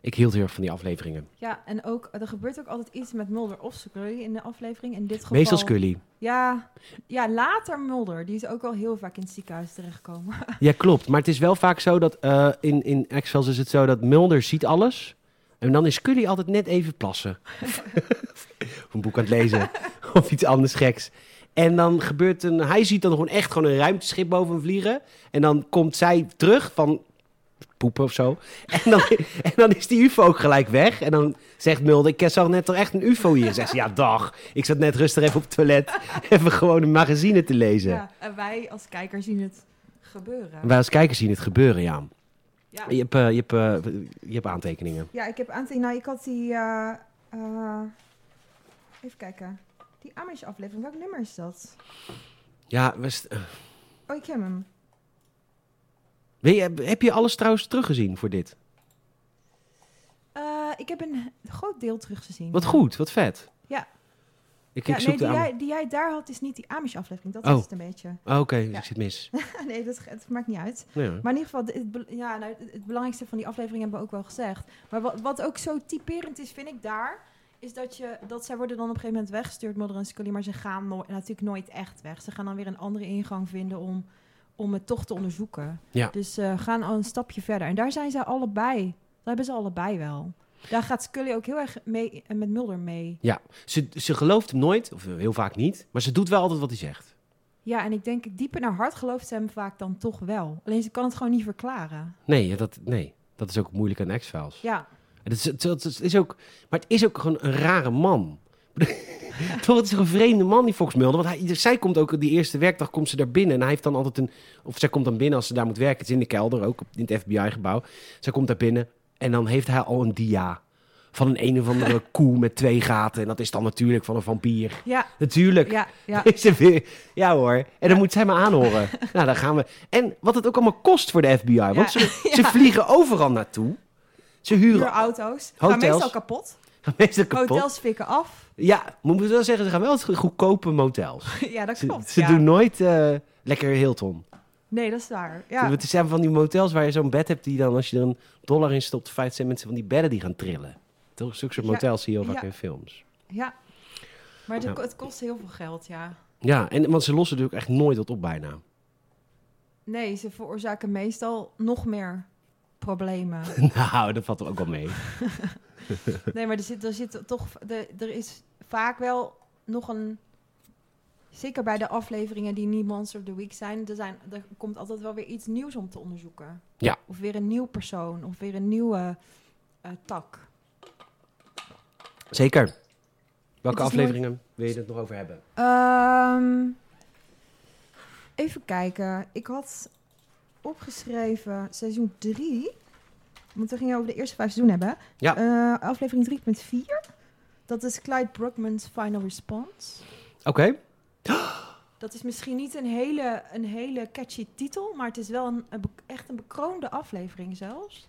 Ik hield heel erg van die afleveringen.
Ja, en ook, er gebeurt ook altijd iets met Mulder of Scully in de aflevering. In dit geval...
Meestal Scully.
Ja, ja, later Mulder. Die is ook al heel vaak in het ziekenhuis terechtgekomen.
Ja, klopt. Maar het is wel vaak zo dat eh, in, in X-Files is het zo dat Mulder ziet alles. En dan is Scully altijd net even plassen. of een boek aan het lezen. of iets anders geks. En dan gebeurt een... Hij ziet dan gewoon echt gewoon een ruimteschip boven hem vliegen. En dan komt zij terug van poepen of zo. En dan, en dan is die ufo ook gelijk weg. En dan zegt Mulder, ik zag net toch echt een ufo hier. Zegt ze, ja dag. Ik zat net rustig even op het toilet. Even gewoon een magazine te lezen.
Ja, en wij als kijker zien het gebeuren.
Wij als kijkers zien het gebeuren, ja.
Ja,
Je hebt, eh, je hebt, eh, je hebt aantekeningen.
ja ik heb aantekeningen. Nou, ik had die... eh, eh, even kijken. Die Amish aflevering. Welk nummer is dat?
Ja, eh. we st-
Oh, ik ken hem.
Wil je- heb je alles trouwens teruggezien voor dit?
Eh, ik heb een groot deel teruggezien.
Wat goed, wat vet.
Ja.
Ik,
Ja,
ik zoek
nee,
de
die,
aan.
jij, die jij daar had is niet die Amish aflevering. Dat
Oh.
is het een beetje.
Oh, Oké, dus
Ja.
ik zit mis.
nee, dat, dat maakt niet uit.
Nou ja.
Maar in ieder geval, het, be- ja, nou, het- het belangrijkste van die aflevering hebben we ook wel gezegd. Maar wat, wat ook zo typerend is, vind ik daar, is dat, je, dat zij worden dan op een gegeven moment weggestuurd, Mulder en Scully, maar ze gaan nooit- natuurlijk nooit echt weg. Ze gaan dan weer een andere ingang vinden om, om het toch te onderzoeken.
Ja.
Dus ze gaan al een stapje verder. En daar zijn ze allebei, daar hebben ze allebei wel. Daar gaat Scully ook heel erg mee, eh, met Mulder mee.
ze, ze gelooft hem nooit, of heel vaak niet, maar ze doet wel altijd wat hij zegt.
Ja, en ik denk, diep in haar hart gelooft ze hem vaak dan toch wel. Alleen ze kan het gewoon niet verklaren.
Nee, ja, dat, nee. dat is ook moeilijk aan X-Files.
Ja,
En Het is, het, het- het is ook, maar het is ook gewoon een rare man. Toch, het is een vreemde man die Fox Mulder. Want hij, dus zij komt ook die eerste werkdag komt ze daar binnen. En hij heeft dan altijd een... Of zij komt dan binnen als ze daar moet werken. Het is in de kelder, ook op- in het FBI-gebouw. Zij komt daar binnen en dan heeft hij al een dia van een een of andere koe met twee gaten. En dat is dan natuurlijk van een vampier.
Ja,
Natuurlijk.
ja, ja.
Is er weer- ja hoor. En dan
Ja.
moet zij me aanhoren. nou, dan gaan we. En wat het ook allemaal kost voor de FBI. Want ze, ze
Ja.
vliegen overal naartoe. Ze huren
Huurauto's. Gaan
Hotels.
meestal kapot.
gaan meestal kapot.
Hotels fikken af.
Ja, moet ik wel zeggen, ze gaan wel eens goedkope motels.
ja, dat
Ze,
klopt.
ze
ja.
doen nooit eh, lekker Hilton.
Nee, dat is waar. Ja.
Het zijn van die motels waar je zo'n bed hebt die dan, als je er een dollar in stopt, vijf cent mensen van die bedden die gaan trillen. Toch? Zulke soort
Ja,
motels zie je heel vaak
ja.
in films.
ja. Maar het,
Ja.
het kost heel veel geld, ja.
Ja, en, want ze lossen natuurlijk echt nooit wat op bijna.
Nee, ze veroorzaken meestal nog meer problemen.
nou, dat valt er ook wel mee.
Nee, maar er zit, er zit toch. de- er is vaak wel nog een. Zeker bij de afleveringen die niet Monster of the Week zijn, er, zijn, er komt altijd wel weer iets nieuws om te onderzoeken.
Ja.
Of weer een nieuw persoon, of weer een nieuwe eh, tak.
Zeker. Welke
is
afleveringen wil je het nog over hebben?
Ehm, even kijken. Ik had opgeschreven seizoen 3. Want we gingen over de eerste vijf seizoenen hebben. hè?
Ja.
Eh, aflevering 3.4. Dat is Clyde Brockman's Final Response.
Oké.
Dat is misschien niet een hele, een hele catchy titel, maar het is wel een, een be- echt een bekroonde aflevering zelfs.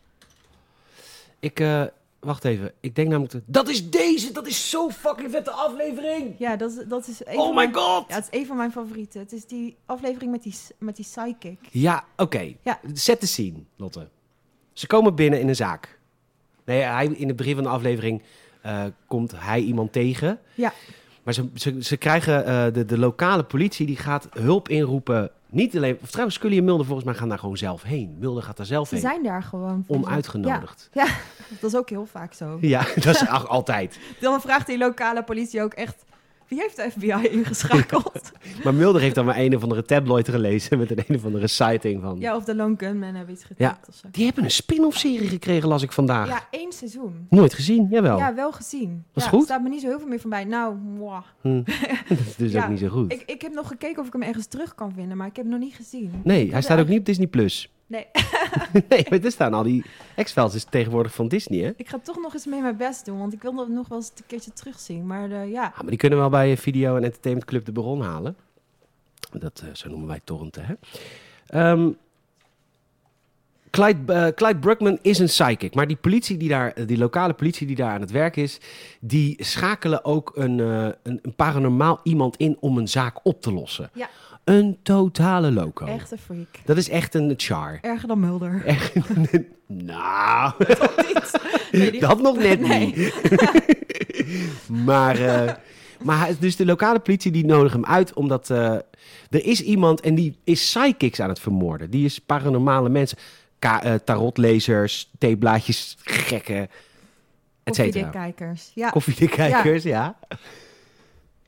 Ik, eh, wacht even. Ik denk namelijk... dat- Dat is deze! Dat is zo fucking vette aflevering!
Ja, dat, is- dat is een
oh
van
my
mijn-
god!
Ja, het is een van mijn favorieten. Het is die aflevering met die, s- met die psychic.
Ja, oké.
Ja.
Zet de scene, Lotte. Ze komen binnen in een zaak. Nee, hij, in het begin van de aflevering eh, komt hij iemand tegen.
Ja.
Maar ze, ze, ze krijgen eh, de, de lokale politie, die gaat hulp inroepen. Niet alleen, of trouwens, Scully en Mulder volgens mij gaan daar gewoon zelf heen. Mulder gaat daar zelf
Ze
heen.
zijn daar gewoon. voor.
Onuitgenodigd.
Ja, dat is ook heel vaak zo.
Ja. dat is al- altijd.
Dan vraagt die lokale politie ook echt... Wie heeft de FBI ingeschakeld?
Maar Mulder heeft dan maar een of andere tabloid gelezen met een, een of andere sighting van...
ja, of de Lone Gunman hebben iets getikt
Ja.
of zo.
Die hebben een spin-off serie gekregen, las ik vandaag.
Ja, één seizoen.
Nooit gezien, jawel.
Ja, wel gezien.
Was
ja,
Oh. goed?
staat me niet zo heel veel meer van bij. Nou, mwah.
Dat is dus
Ja,
ook niet zo goed.
Ik, ik heb nog gekeken of ik hem ergens terug kan vinden, maar ik heb hem nog niet gezien.
Nee, hij staat
is
ook
eigenlijk-
niet op Disney Plus.
Nee.
nee, maar er staan al die X-Files is tegenwoordig van Disney, hè?
Ik ga toch nog eens mee mijn best doen, want ik wil dat nog wel eens een keertje terugzien. Maar eh, ja,
Ah, maar die kunnen we wel bij eh, Video en Entertainment Club de Baron halen. Dat, eh, zo noemen wij torrenten, hè? Ehm, Clyde, eh, Clyde Bruckman is een psychic, maar die politie die daar, eh, die lokale politie die daar aan het werk is, die schakelen ook een, eh, een, een paranormaal iemand in om een zaak op te lossen.
Ja.
Een totale loco.
echt een freak.
Dat is echt een char.
Erger dan Mulder.
Oh. Echt, nou,
Toch niet? Nee, die-
dat nog net
Nee.
niet. maar, eh, maar hij- dus de lokale politie die nodigt hem uit omdat eh, er is iemand en die is psychics aan het vermoorden. Die is paranormale mensen, Ka- eh, tarotlezers, theeblaadjes, gekken, et cetera.
Koffiedikkijkers. Ja.
Koffiedikkijkers, ja.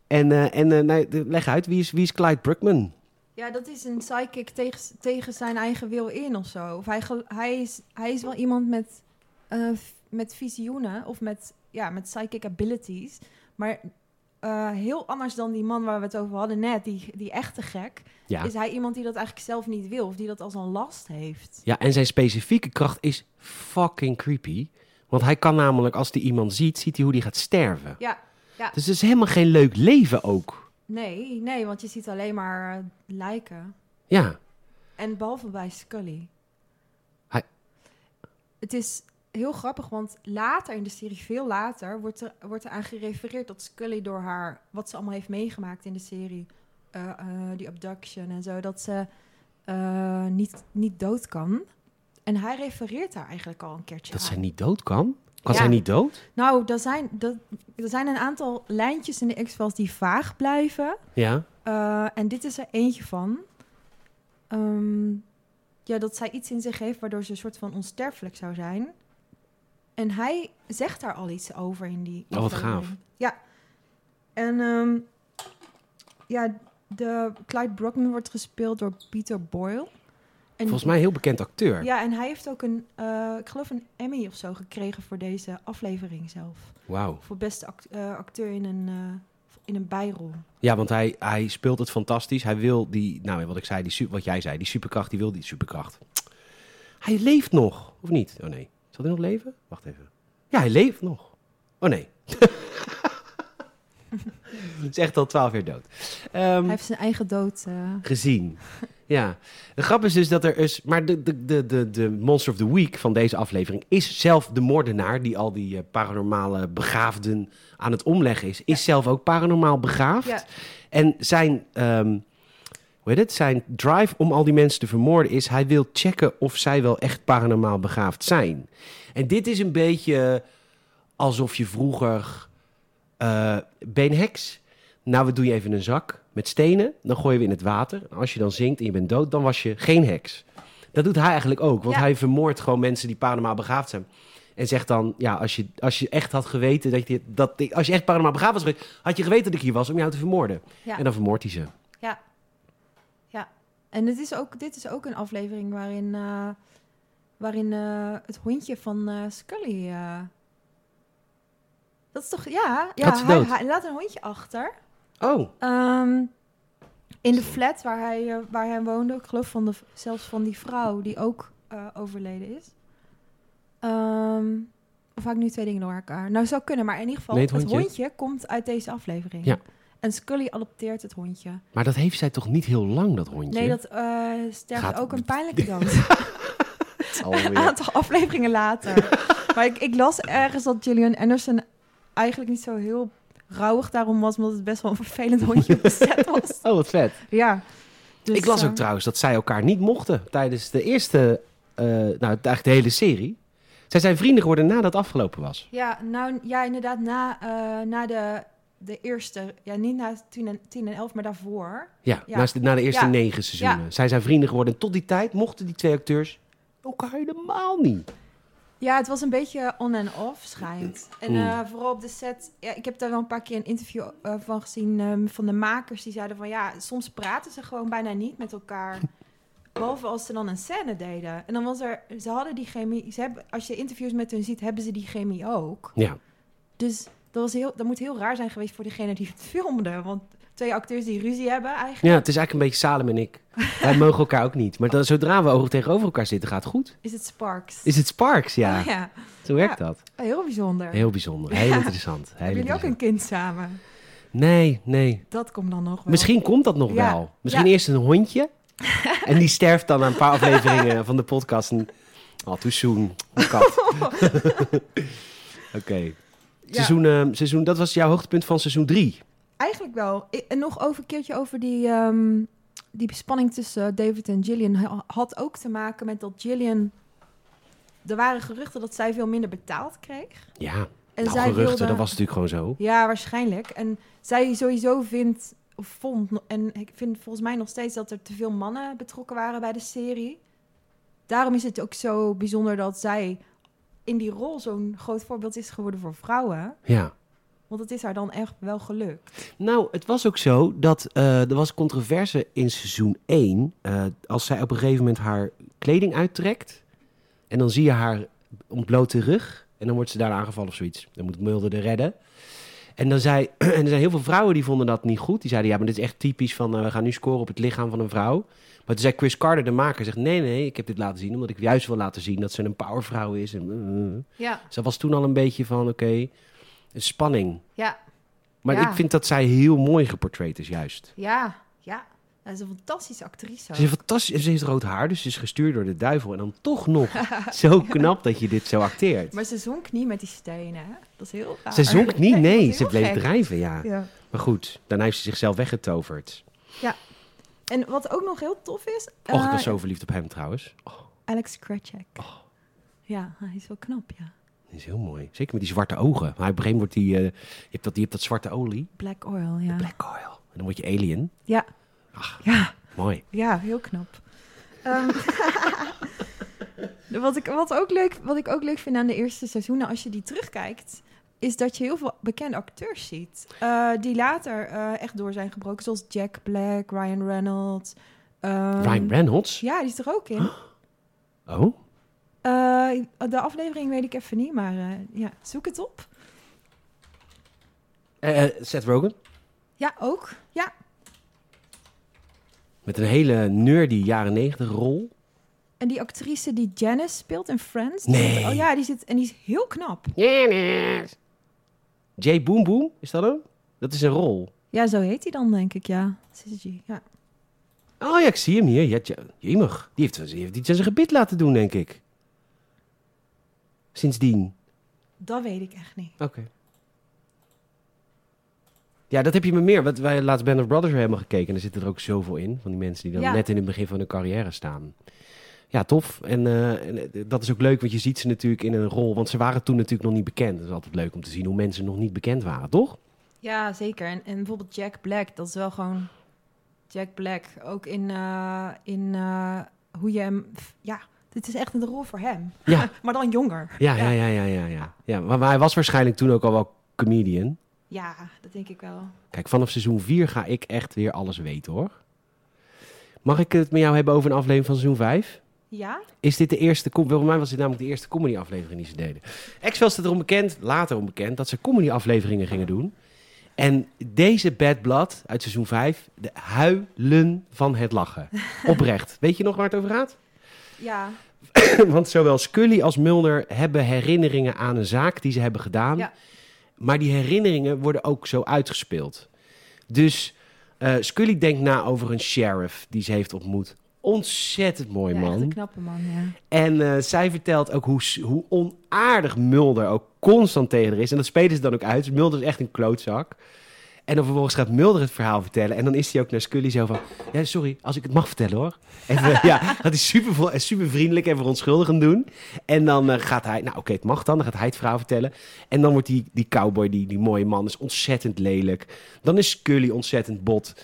En, eh, en eh, nou, de- leg uit, wie is, wie is Clyde Bruckman?
ja, dat is een psychic tegen, tegen zijn eigen wil in of zo. Of hij, gel- hij, is, hij is wel iemand met, eh, v- met visioenen of met, ja, met psychic abilities. Maar eh, heel anders dan die man waar we het over hadden net, die, die echte gek.
Ja.
Is hij iemand die dat eigenlijk zelf niet wil of die dat als een last heeft?
Ja, en zijn specifieke kracht is fucking creepy. Want hij kan namelijk, als hij iemand ziet, ziet hij hoe die gaat sterven.
Ja,
Dus het is helemaal geen leuk leven ook.
nee, nee, want je ziet alleen maar eh, lijken.
Ja,
En behalve bij Scully.
Hij-
Het is heel grappig, want later in de serie, veel later, wordt er, wordt er aan gerefereerd dat Scully door haar, wat ze allemaal heeft meegemaakt in de serie, eh, eh, die abduction en zo, dat ze eh, niet, niet dood kan. En hij refereert daar eigenlijk al een keertje
dat
aan.
zij niet dood kan. Kan
Ja.
zij niet dood?
Nou, er zijn, dat, er zijn een aantal lijntjes in de X-Files die vaag blijven.
Ja.
Eh, en dit is er eentje van. Ehm, ja, dat zij iets in zich heeft waardoor ze een soort van onsterfelijk zou zijn. En hij zegt daar al iets over in die.
Oh, wat
aflevering.
gaaf.
Ja. En ehm, ja, de Clyde Brockman wordt gespeeld door Peter Boyle. En
Volgens mij een heel bekend acteur.
Ja, en hij heeft ook een, eh, ik geloof een Emmy of zo gekregen voor deze aflevering zelf.
Wauw.
Voor beste act- eh, acteur in een, eh, in een bijrol.
Ja, want hij, hij speelt het fantastisch. Hij wil die, nou wat ik zei, die, su- wat jij zei, die superkracht, die wil die superkracht. Hij leeft nog, of niet? Oh nee. Zal hij nog leven? Wacht even. Ja, hij leeft nog. Oh nee. Het is echt al twaalf jaar dood. Ehm,
Hij heeft zijn eigen dood. eh,
gezien. Ja, de grap is dus dat er is. Maar de, de, de, de, de Monster of the Week van deze aflevering is zelf de moordenaar. die al die eh, paranormale begaafden aan het omleggen is. Is zelf ook paranormaal begaafd.
Ja.
En zijn. ehm, hoe heet het? Zijn drive om al die mensen te vermoorden is. Hij wil checken of zij wel echt paranormaal begaafd zijn. En dit is een beetje alsof je vroeger. eh ben heks. Nou, we doen je even een zak met stenen. Dan gooien we in het water. En Als je dan zinkt en je bent dood, dan was je geen heks. Dat doet hij eigenlijk ook. Want
Ja.
hij vermoordt gewoon mensen die paranormaal begaafd zijn. En zegt dan, ja, als je, als je echt had geweten dat je... Dat, ik- als je echt paranormaal begaafd was geweest, had je geweten dat ik hier was om jou te vermoorden.
Ja.
En dan vermoordt hij ze.
En het is ook, dit is ook een aflevering waarin, eh, waarin eh, het hondje van eh, Scully. eh, dat is toch. Ja, ja
Gaat ze
hij,
dood?
hij laat een hondje achter.
Oh,
Ehm, in de flat waar hij, eh, waar hij woonde. Ik geloof van de, zelfs van die vrouw die ook eh, overleden is. Ehm, of haak ik nu twee dingen door elkaar? Nou, zou kunnen, maar in ieder geval,
Nee,
het,
het
hondje.
hondje.
komt uit deze aflevering.
Ja.
En Scully adopteert het hondje.
maar dat heeft zij toch niet heel lang, dat hondje?
Nee, dat eh, sterft
Gaat-
ook een pijnlijke dood.
Alweer.
Een aantal afleveringen later. maar ik, ik las ergens dat Gillian Anderson eigenlijk niet zo heel rauwig daarom was, omdat het best wel een vervelend hondje op de set was.
Oh, wat vet.
Ja. Dus,
ik las
eh,
ook trouwens dat zij elkaar niet mochten tijdens de eerste... eh, nou, eigenlijk de hele serie. Zij zijn vrienden geworden nadat het afgelopen was.
Ja, nou ja, inderdaad, na, eh, na de, de eerste, ja, niet na 10 en, 10 en 11, maar daarvoor.
Ja,
Ja.
naast- na de eerste
Ja.
negen seizoenen. Zij zijn vrienden geworden. En tot die tijd mochten die twee acteurs elkaar helemaal niet.
Ja, het was een beetje on en off schijnt. En
Mm.
eh, vooral op de set, ja, ik heb daar wel een paar keer een interview eh, van gezien ehm, van de makers. Die zeiden van ja, soms praten ze gewoon bijna niet met elkaar. Behalve als ze dan een scène deden. En dan was er, ze hadden die chemie, ze hebben, als je interviews met hun ziet, hebben ze die chemie ook.
Ja.
Dus dat, was heel, dat moet heel raar zijn geweest voor degene die het filmde. Want twee acteurs die ruzie hebben eigenlijk,
ja, het is eigenlijk een beetje Salem en ik. Wij mogen elkaar ook niet. Maar dan, zodra we ogen tegenover elkaar zitten, gaat het goed.
is het Sparks.
Is het Sparks? Ja,
Oh ja,
zo werkt dat.
heel bijzonder.
Heel bijzonder. Heel interessant. Heel
hebben jullie ook een
interessant.
kind samen?
Nee, nee.
Dat komt dan nog wel.
Misschien komt dat nog
Ja.
wel. Misschien
Ja.
eerst een hondje. en die sterft dan na een paar afleveringen van de podcast. En, oh, too soon. Een kat. Oké.
Ja.
Seizoen, eh, seizoen, dat was jouw hoogtepunt van seizoen 3.
Eigenlijk wel. I- En nog over een keertje over die, ehm, die spanning tussen David en Gillian. Ha- Had ook te maken met dat Gillian... Er waren geruchten dat zij veel minder betaald kreeg.
Ja,
En
nou,
zij
geruchten,
wilde-
dat was natuurlijk gewoon zo.
Ja, waarschijnlijk. En zij sowieso vindt, of vond, no- en ik vind volgens mij nog steeds dat er te veel mannen betrokken waren bij de serie. Daarom is het ook zo bijzonder dat zij in die rol zo'n groot voorbeeld is geworden voor vrouwen.
Ja.
Want het is haar dan echt wel gelukt.
Nou, het was ook zo dat eh, er was controverse in seizoen 1. eh, als zij op een gegeven moment haar kleding uittrekt. En dan zie je haar ontblote rug. En dan wordt ze daarna aangevallen of zoiets. Dan moet Mulder er redden. En, dan zei, en er zijn heel veel vrouwen die vonden dat niet goed. Die zeiden, ja, maar dit is echt typisch van... eh, we gaan nu scoren op het lichaam van een vrouw. Maar toen zei Chris Carter, de maker, zegt... nee, nee, ik heb dit laten zien... omdat ik juist wil laten zien dat ze een powervrouw is. En, eh,
Ja,
Ze was toen al een beetje van, oké, een spanning.
ja,
Maar
Ja.
ik vind dat zij heel mooi geportreerd is, juist.
Ja, ja. Ze is een fantastische actrice.
Ze, is fantastisch, en ze heeft rood haar, dus ze is gestuurd door de duivel. En dan toch nog zo knap dat je dit zo acteert.
Maar ze zonk niet met die stenen, hè? Dat is heel raar.
Ze zonk niet,
dat
nee.
is
Ze
heel
bleef
gek.
drijven, ja.
Ja.
Maar goed, daarna heeft ze zichzelf weggetoverd.
En wat ook nog heel tof is...
Och, ik
eh,
was zo Oh. verliefd op hem trouwens. Oh,
Alex Kretschek. Ja, hij is wel knap, ja.
dat is heel mooi. Zeker met die zwarte ogen. Maar op een gegeven moment wordt die... eh, je, hebt dat, je hebt dat zwarte olie.
Black Oil, ja.
Black oil. En dan word je alien.
Ja. Ja,
Mooi.
ja, heel knap. Ehm, wat, ik, wat, ook leuk, wat ik ook leuk vind aan de eerste seizoenen, als je die terugkijkt... is dat je heel veel bekende acteurs ziet... eh, die later eh, echt door zijn gebroken. Zoals Jack Black, Ryan Reynolds... ehm,
Ryan Reynolds.
Ja, die is er ook in.
Oh,
Eh, de aflevering weet ik even niet, maar eh, ja, zoek het op.
Eh, eh, Seth Rogen.
Ja, ook. Ja,
Met een hele nerdy jaren negentig rol.
en die actrice die Janice speelt in Friends.
Nee.
Oh ja, die zit en die is heel knap.
Janice. Jay Boom Boom, is dat hem? Dat is een rol.
Ja, zo heet hij dan, denk ik, ja. CCG, ja.
Oh ja, ik zie hem hier. Ja, tja- jemig. Die heeft, die heeft iets aan zijn gebit laten doen, denk ik. Sindsdien.
Dat weet ik echt niet.
Oké. Ja, dat heb je me meer. Want wij laatst Band of Brothers weer helemaal gekeken. En er zitten er ook zoveel in. Van die mensen die dan
Ja.
net in het begin van hun carrière staan. Ja, tof. En, eh, en eh, dat is ook leuk, want je ziet ze natuurlijk in een rol. Want ze waren toen natuurlijk nog niet bekend. Dat is altijd leuk om te zien hoe mensen nog niet bekend waren, toch?
Ja, zeker. En, en bijvoorbeeld Jack Black, dat is wel gewoon... Jack Black, ook in, eh, in eh, hoe je hem... Ja, dit is echt een rol voor hem.
Ja.
maar dan jonger.
Ja, ja, ja, ja, ja. ja. ja maar, maar hij was waarschijnlijk toen ook al wel comedian.
Ja, dat denk ik wel.
Kijk, vanaf seizoen 4 ga ik echt weer alles weten, hoor. Mag ik het met jou hebben over een aflevering van seizoen 5?
Ja?
Is dit de eerste... com- Volgens mij was dit namelijk de eerste comedy-aflevering die ze deden. X-Files staat erom bekend, later onbekend, dat ze comedy-afleveringen gingen doen. En deze Bad Blood uit seizoen 5, de huilen van het lachen. Oprecht. Weet je nog waar het over gaat?
Ja.
Want zowel Scully als Mulder hebben herinneringen aan een zaak die ze hebben gedaan.
Ja.
Maar die herinneringen worden ook zo uitgespeeld. Dus eh, Scully denkt na over een sheriff die ze heeft ontmoet. Ontzettend mooi
ja,
man.
echt een knappe man, ja.
En eh, zij vertelt ook hoe, s- hoe onaardig Mulder ook constant tegen haar is. En dat spelen ze dan ook uit. Dus Mulder is echt een klootzak. En dan vervolgens gaat Mulder het verhaal vertellen. En dan is hij ook naar Scully zo van... Ja, sorry, als ik het mag vertellen hoor. Even, ja, gaat hij super, vo- eh, super vriendelijk en verontschuldigend doen. En dan eh, gaat hij... Nou oké, het mag dan. Dan gaat hij het verhaal vertellen. En dan wordt die, die cowboy, die, die mooie man, is ontzettend lelijk. Dan is Scully ontzettend bot.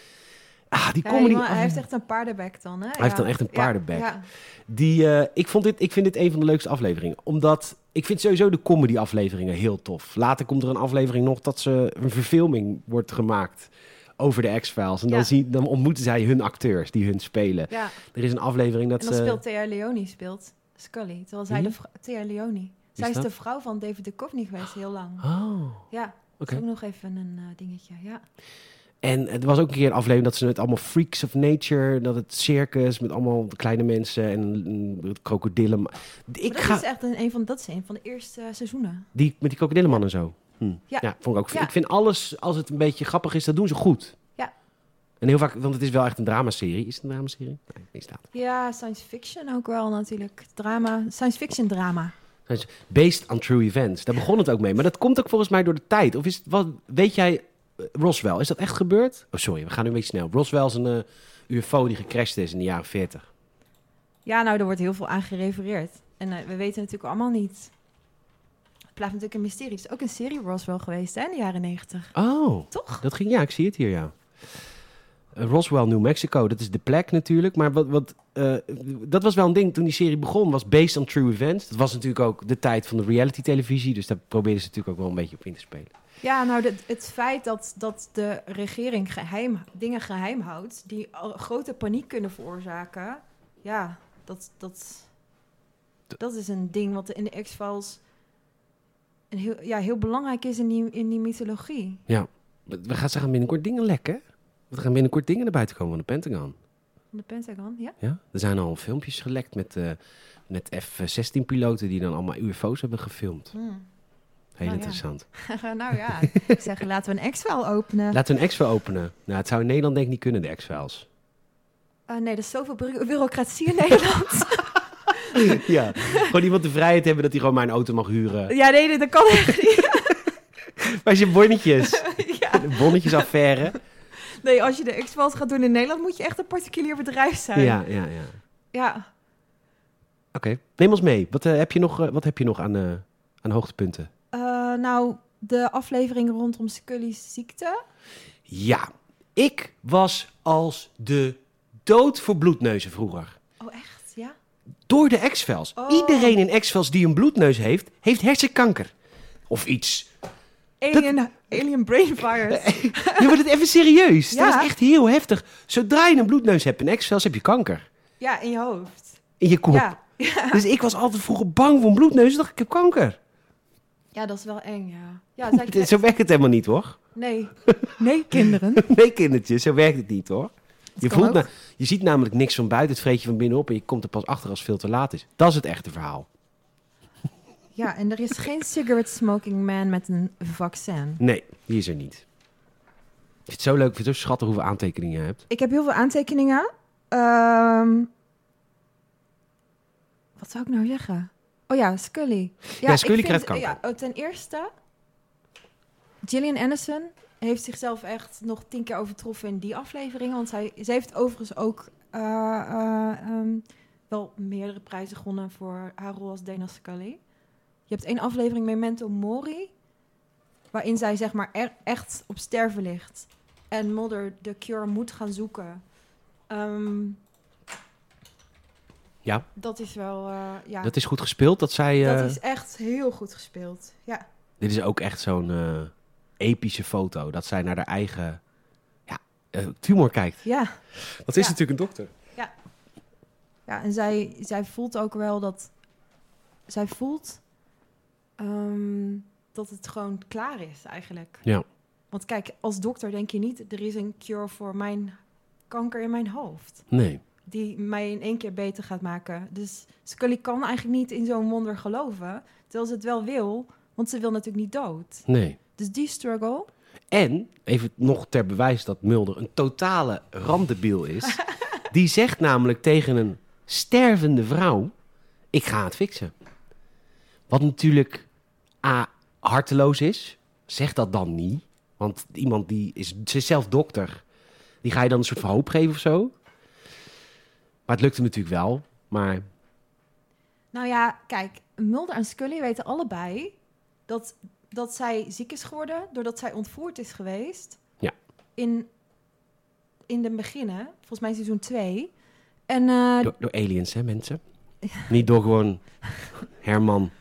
Ah, die
Ja,
comedy...
helemaal- hij heeft echt een paardenbek dan, hè? Hij
heeft dan echt een paardenbek.
Ja,
Die, eh, ik, vond dit, ik vind dit een van de leukste afleveringen. Omdat ik vind sowieso de comedy-afleveringen heel tof. Later komt er een aflevering nog dat ze een verfilming wordt gemaakt over de X-Files. En dan,
Ja.
zien, dan ontmoeten zij hun acteurs die hun spelen.
ja.
Er is een aflevering dat eh,
En dan
ze...
speelt Thea Leoni speelt Scully. Terwijl zij
Wie?
de vrou- Thea Leoni. Zij is,
dat?
de vrouw van David Duchovny geweest heel lang.
Oh,
Ja, dat
oké.
is ook nog even een eh, dingetje. Ja.
En er was ook een keer een aflevering dat ze het allemaal freaks of nature... dat het circus met allemaal kleine mensen en mm, krokodillen...
Maar
Ik
dat
ga...
is echt een, een van dat is een van de eerste eh, seizoenen.
Die, met die krokodillenman en zo. Hm. Ja.
Ja.
vond ik ook.
Ja.
Ik vind alles, als het een beetje grappig is, dat doen ze goed.
Ja.
En heel vaak, want het is wel echt een dramaserie. Is het een dramaserie? Nee, niet staat.
Ja, science fiction ook wel natuurlijk. Drama, science fiction drama.
Based on true events. Daar begon het ook mee. Maar dat komt ook volgens mij door de tijd. Of is het, wat, weet jij, eh, Roswell, is dat echt gebeurd? Oh, sorry, we gaan nu een beetje snel. Roswell is een eh, UFO die gecrashed is in de jaren 40.
Ja, nou, er wordt heel veel aan gerefereerd. En eh, we weten natuurlijk allemaal niet. Het blijft natuurlijk een mysterie. Het is ook een serie Roswell geweest hè, in de jaren negentig.
Oh.
Toch?
Dat ging, ja, ik zie het hier, ja. Eh, Roswell, New Mexico, dat is de plek natuurlijk. Maar wat, wat, eh, dat was wel een ding toen die serie begon, was based on true events. Dat was natuurlijk ook de tijd van de reality televisie, dus daar probeerden ze natuurlijk ook wel een beetje op in te spelen.
Ja, nou, dat- het feit dat, dat de regering geheim, dingen geheim houdt... die al- grote paniek kunnen veroorzaken... ja, dat, dat, dat is een ding wat in de X-Files... een heel, ja, heel belangrijk is in die, in die mythologie.
We we gaan, ze gaan binnenkort dingen lekken. Er gaan binnenkort dingen naar buiten komen van de Pentagon.
Van de Pentagon, ja?
Ja? Er zijn al filmpjes gelekt met, eh, met F-16-piloten die dan allemaal UFO's hebben gefilmd. Heel
Nou ja.
interessant.
nou ja, ik zeg, laten we een X-File openen.
Laten we een X-File openen. Nou, het zou in Nederland denk ik niet kunnen, de X-Files.
Ah, nee, dat is zoveel bureau- bureaucratie in Nederland.
Ja, gewoon iemand de vrijheid hebben dat hij gewoon maar een auto mag huren.
ja, nee, nee, dat kan echt niet.
Maar je bonnetjes,
ja.
de bonnetjesaffaire.
Nee, als je de X-Files gaat doen in Nederland... moet je echt een particulier bedrijf zijn.
Ja, ja, ja. Oké,
ja.
neem ons mee. Wat, eh, heb, je nog, eh, wat heb je nog aan, eh, aan hoogtepunten?
Eh, nou, de aflevering rondom Scully's ziekte.
Ja, ik was als de dood voor bloedneuzen vroeger.
Oh, echt? Ja?
Door de X-Files.
Oh.
Iedereen in X-Files die een bloedneus heeft, heeft hersenkanker. Of iets.
Alien, alien brain virus.
Je wordt het even serieus.
Ja.
Dat was echt heel heftig. Zodra je een bloedneus hebt in X-Files, heb je kanker.
Ja, in je hoofd.
In je kop.
Ja.
Dus ik was altijd vroeger bang voor een bloedneus. Ik dacht, ik heb kanker.
ja, dat is wel eng, ja. ja het is eigenlijk-
Zo werkt het helemaal niet, hoor.
Nee. Nee, kinderen.
Nee, kindertjes, zo werkt het niet, hoor. Je,
kan
voelt
ook.
na- je ziet namelijk niks van buiten, het vreet je van binnenop... en je komt er pas achter als het veel te laat is. Dat is het echte verhaal.
Ja, en er is geen cigarette smoking man met een vaccin.
Nee, die is er niet. Ik vind het zo leuk, ik vind het zo schattig hoeveel aantekeningen je hebt.
Ik heb heel veel aantekeningen. Ehm, wat zou ik nou zeggen? Oh ja, Scully.
Ja,
ik
Scully
vind-
krijgt kanker.
Ja, oh, ten eerste, Gillian Anderson heeft zichzelf echt nog tien keer overtroffen in die aflevering. Want zij, ze heeft overigens ook eh, eh, ehm, wel meerdere prijzen gewonnen voor haar rol als Dana Scully. Je hebt één aflevering Memento Mori, waarin zij zeg maar er- echt op sterven ligt. En Mulder de cure moet gaan zoeken. Ehm,
Ja.
Dat is wel, eh, ja.
Dat is goed gespeeld, dat zij... eh,
Dat is echt heel goed gespeeld. Ja,
Dit is ook echt zo'n eh, epische foto, dat zij naar haar eigen ja, eh, tumor kijkt.
ja.
Dat
is Ja.
natuurlijk een dokter.
ja en zij, zij voelt ook wel dat. Zij voelt ehm, dat het gewoon klaar is eigenlijk.
Ja.
Want kijk, als dokter denk je niet, er is een cure voor mijn kanker in mijn hoofd.
Nee.
Die mij in één keer beter gaat maken. Dus Scully kan eigenlijk niet in zo'n wonder geloven. Terwijl ze het wel wil, want ze wil natuurlijk niet dood.
Nee.
Dus die struggle.
En, even nog ter bewijs dat Mulder een totale randebiel is. die zegt namelijk tegen een stervende vrouw, ik ga het fixen. Wat natuurlijk A, harteloos is. Zeg dat dan niet. Want iemand die is, ze is zelf dokter. Die ga je dan een soort van hoop geven of zo. Maar het lukt hem natuurlijk wel. Maar
Nou ja, kijk, Mulder en Scully weten allebei dat, dat zij ziek is geworden doordat zij ontvoerd is geweest.
Ja.
In, in de beginnen, volgens mij seizoen 2. En eh,
door, door aliens, hè, mensen? Niet door gewoon Herman.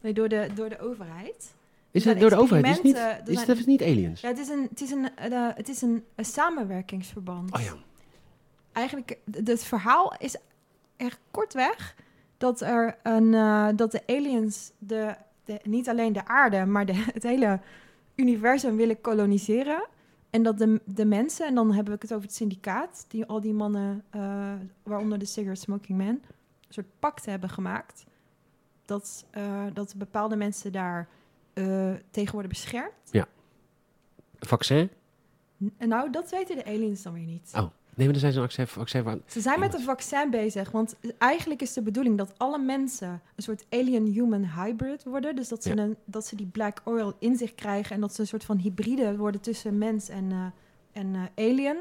nee, door, de, door de overheid.
Is
zijn
het door de overheid? Is het niet,
experimenten, er
is
zijn-
het, is niet aliens?
Ja, het is een, het is een, eh, de- het is een, een samenwerkingsverband.
Oh ja.
Eigenlijk, d- het verhaal is echt kortweg dat, er een, eh, dat de aliens de, de, niet alleen de aarde, maar de, het hele universum willen koloniseren. En dat de, de mensen, en dan hebben we het over het syndicaat, die al die mannen, eh, waaronder de cigarette smoking man, een soort pact hebben gemaakt. Dat, eh, dat bepaalde mensen daar eh, tegen worden beschermd.
Vaccin?
En nou, dat weten de aliens dan weer niet.
Oh, nee, maar er zijn zo'n vaccin, vaccin van...
Ze zijn met een vaccin bezig, want eigenlijk is de bedoeling dat alle mensen een soort alien-human hybrid worden. Dus dat ze,
Ja.
een, dat ze die black oil in zich krijgen en dat ze een soort van hybride worden tussen mens en, eh, en eh, alien.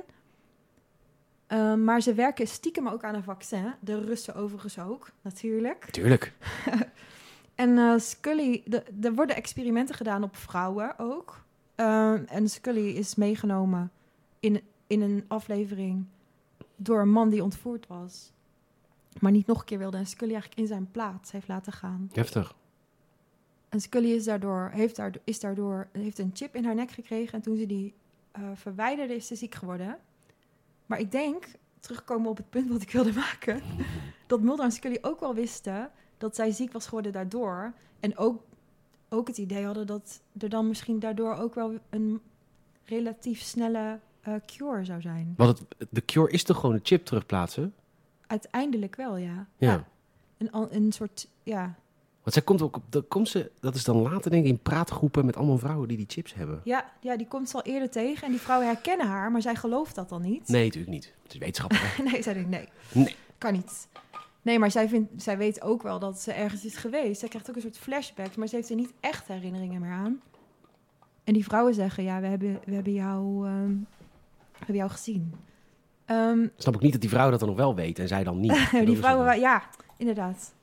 Eh, maar ze werken stiekem ook aan een vaccin. De Russen overigens ook, natuurlijk.
Tuurlijk.
En eh, Scully, de- er worden experimenten gedaan op vrouwen ook. Eh, en Scully is meegenomen in, in een aflevering door een man die ontvoerd was. Maar niet nog een keer wilde. En Scully eigenlijk in zijn plaats heeft laten gaan.
Heftig.
En Scully is daardoor, heeft, daar, is daardoor, heeft een chip in haar nek gekregen. En toen ze die eh, verwijderde, is ze ziek geworden. Maar ik denk, terugkomen op het punt wat ik wilde maken... dat Mulder en Scully ook wel wisten dat zij ziek was geworden daardoor. En ook, ook het idee hadden dat er dan misschien daardoor ook wel een relatief snelle eh, cure zou zijn.
Want het, de cure is toch gewoon een chip terugplaatsen?
Uiteindelijk wel, ja.
Ja.
Een, al- een soort, ja.
Want zij komt ook op... Dan komt ze, dat is dan later denk ik in praatgroepen met allemaal vrouwen die die chips hebben.
ja. Ja, die komt ze al eerder tegen. En die vrouwen herkennen haar, maar zij gelooft dat dan niet.
Nee, natuurlijk niet. Het is wetenschappelijk.
nee, zij denkt nee.
Nee.
Kan niet. Nee, maar zij, vindt, zij weet ook wel dat ze ergens is geweest. Zij krijgt ook een soort flashback, maar ze heeft er niet echt herinneringen meer aan. En die vrouwen zeggen, ja, we hebben, we hebben, jou, ehm, we hebben jou gezien. Ehm,
Snap ik niet dat die vrouwen dat dan nog wel weten en zij dan niet. Ik bedoel, dus, eh,
die
ze-
vrouwen, wa- ja, inderdaad.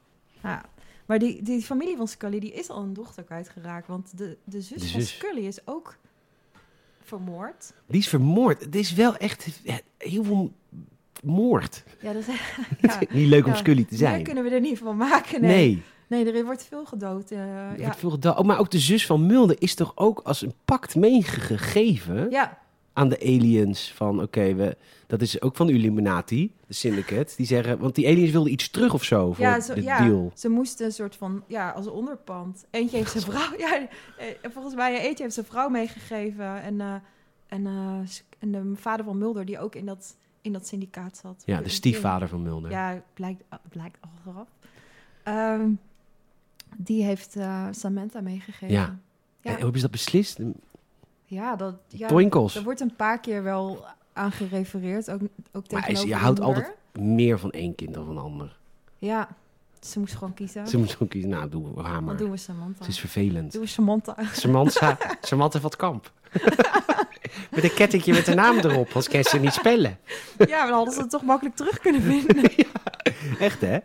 Ja. Maar die, die familie van Scully, die is al een dochter kwijtgeraakt. Want de, de zus
De
van
zus.
Scully is ook vermoord.
Die is vermoord. Het is wel echt eh, heel veel moord.
Ja, dat is... ja.
Niet leuk om
Ja.
Scully te
Daar
zijn.
kunnen we er niet van maken. Nee,
Nee.
Nee, er wordt veel gedood. eh,
Er
ja.
wordt veel gedaan. Oh, maar ook de zus van Mulder is toch ook als een pact meegegeven
ja,
aan de aliens van, oké, we dat is ook van de Illuminati, de syndicate, die zeggen, want die aliens wilden iets terug of zo voor
ja, zo-
de
ja,
deal.
ze moesten een soort van, ja, als onderpand. Eentje heeft zijn vrouw, ja, eh, volgens mij, eh, eentje heeft zijn vrouw meegegeven. En, eh, en, eh, s- en de vader van Mulder, die ook in dat, in dat syndicaat zat. Dus
Ja,
oh,
de stiefvader van Mulder.
Ja, blijkt, blijkt al eraf. Ehm, Die heeft eh, Samantha meegegeven.
Ja. Eh, oh.
Ja.
En hoe hebben ze dat beslist?
Ja, dat, ja
Twinkels.
er wordt een paar keer wel aan gerefereerd. Ook, ook
Maar hij is-
tegenover
je houdt
moeder.
altijd- Meer van één kind dan van een ander.
Ja, ze moest gewoon kiezen.
Ze moet zo kiezen. Nou, doen we haar
Dan
maar.
doen we Samantha.
Het is vervelend.
Doen we Samantha.
Samantha, Samantha van het kamp. met een kettingje met haar naam erop, als kan ze niet spellen.
ja, maar dan hadden ze het toch makkelijk terug kunnen vinden.
Echt, hè?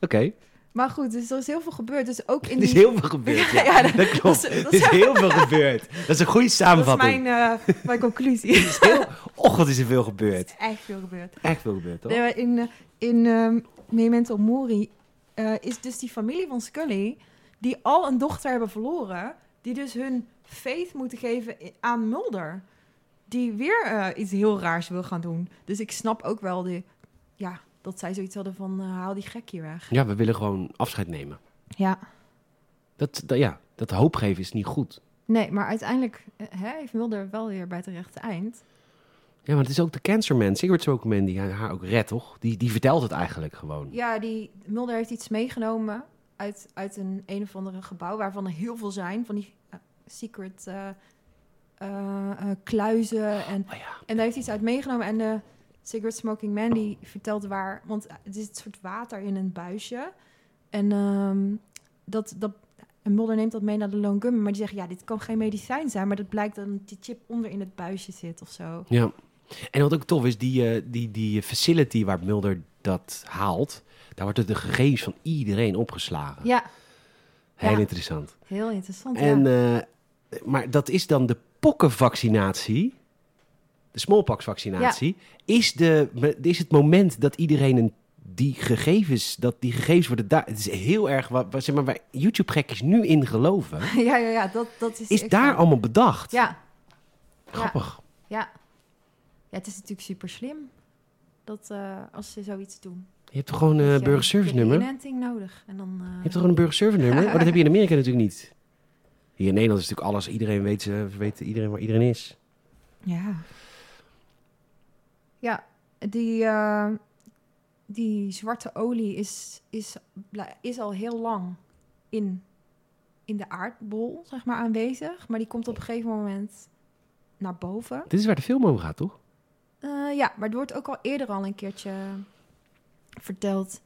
Oké,
Maar goed, dus er is heel veel gebeurd. Dus ook in
er is
die...
heel veel gebeurd. Ja,
Ja,
dat,
dat-
klopt.
dat is-
Er
dat
is
is-
heel veel gebeurd. Dat is een goede
Dat is
samenvatting.
mijn, eh, mijn conclusie. er
is heel... Och, wat is er veel gebeurd.
is echt veel gebeurd.
Echt veel gebeurd, toch?
Nee, maar in eh, in ehm, Memento Mori eh, is dus die familie van Scully... die al een dochter hebben verloren... die dus hun faith moeten geven i- aan Mulder. Die weer eh, iets heel raars wil gaan doen. Dus ik snap ook wel die, ja, dat zij zoiets hadden van... eh, haal die gek hier weg.
Ja, we willen gewoon afscheid nemen.
Ja.
Dat, dat, ja, dat hoop geven is niet goed.
Nee, maar uiteindelijk eh, hè, heeft Mulder wel weer bij het rechte eind.
Ja, maar het is ook de cancerman, Sigurd Sokoman, die haar ook redt, toch? Die, die vertelt het eigenlijk gewoon.
Ja, die Mulder heeft iets meegenomen uit, uit een een of andere gebouw waarvan er heel veel zijn van die eh, secret eh, eh, eh, kluizen en
Oh ja.
en daar heeft hij iets uit meegenomen en de cigarette smoking man die vertelt waar, want eh, het is het soort water in een buisje en ehm, dat dat en Mulder neemt dat mee naar de Lone Gunman, maar die zegt ja dit kan geen medicijn zijn, maar dat blijkt dan die chip onder in het buisje zit of zo.
Ja. En wat ook tof is, die, eh, die, die facility waar Mulder dat haalt, daar wordt de gegevens van iedereen opgeslagen.
Ja,
Heel
ja.
interessant.
heel interessant.
En,
ja.
eh, maar dat is dan de pokkenvaccinatie, de smallpoxvaccinatie, is, de, is het moment dat iedereen een, die gegevens, dat die gegevens worden daar. Het is heel erg wat, wat- zeg maar, waar YouTube-gekjes nu in geloven,
ja, ja, ja, dat, dat is...
is
ik-
daar allemaal bedacht.
Ja,
Grappig.
ja. Ja, het is natuurlijk super slim dat eh, als ze zoiets doen.
Je hebt toch gewoon
Weet
een
je,
burgerservice
Je
nummer?
hebt een inenting nodig. En dan, eh,
Je hebt toch gewoon een burgerservice nummer? Maar dat heb je in Amerika natuurlijk niet. Hier in Nederland is natuurlijk alles. Iedereen weet, eh, weet iedereen waar iedereen is.
Ja. Ja, die, eh, die zwarte olie is, is, bla- is al heel lang in, in de aardbol zeg maar, aanwezig. Maar die komt op een gegeven moment naar boven.
Dit is waar de film over gaat, toch?
Eh, ja, maar het wordt ook al eerder al een keertje verteld.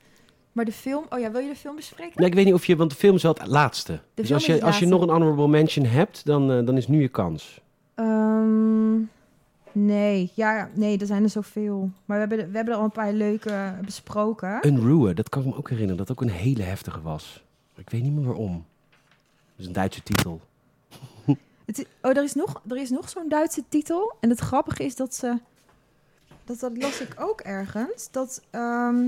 Maar de film... Oh ja, wil je de film bespreken?
Nee, ik weet niet of je... Want de film is wel het laatste. dus
film
als
is
je,
het
als je
laatste.
nog een honorable mention hebt, dan, eh, dan is nu je kans.
Ehm, nee. Ja, nee, er zijn er zoveel. Maar we hebben, we hebben er al een paar leuke besproken.
Unruhe, dat kan ik me ook herinneren. Dat ook een hele heftige was. Maar ik weet niet meer waarom. Dat is een Duitse titel.
Het is- oh, er is nog, er is nog zo'n Duitse titel. En het grappige is dat ze... Dat, dat las ik ook ergens. Dat, ehm,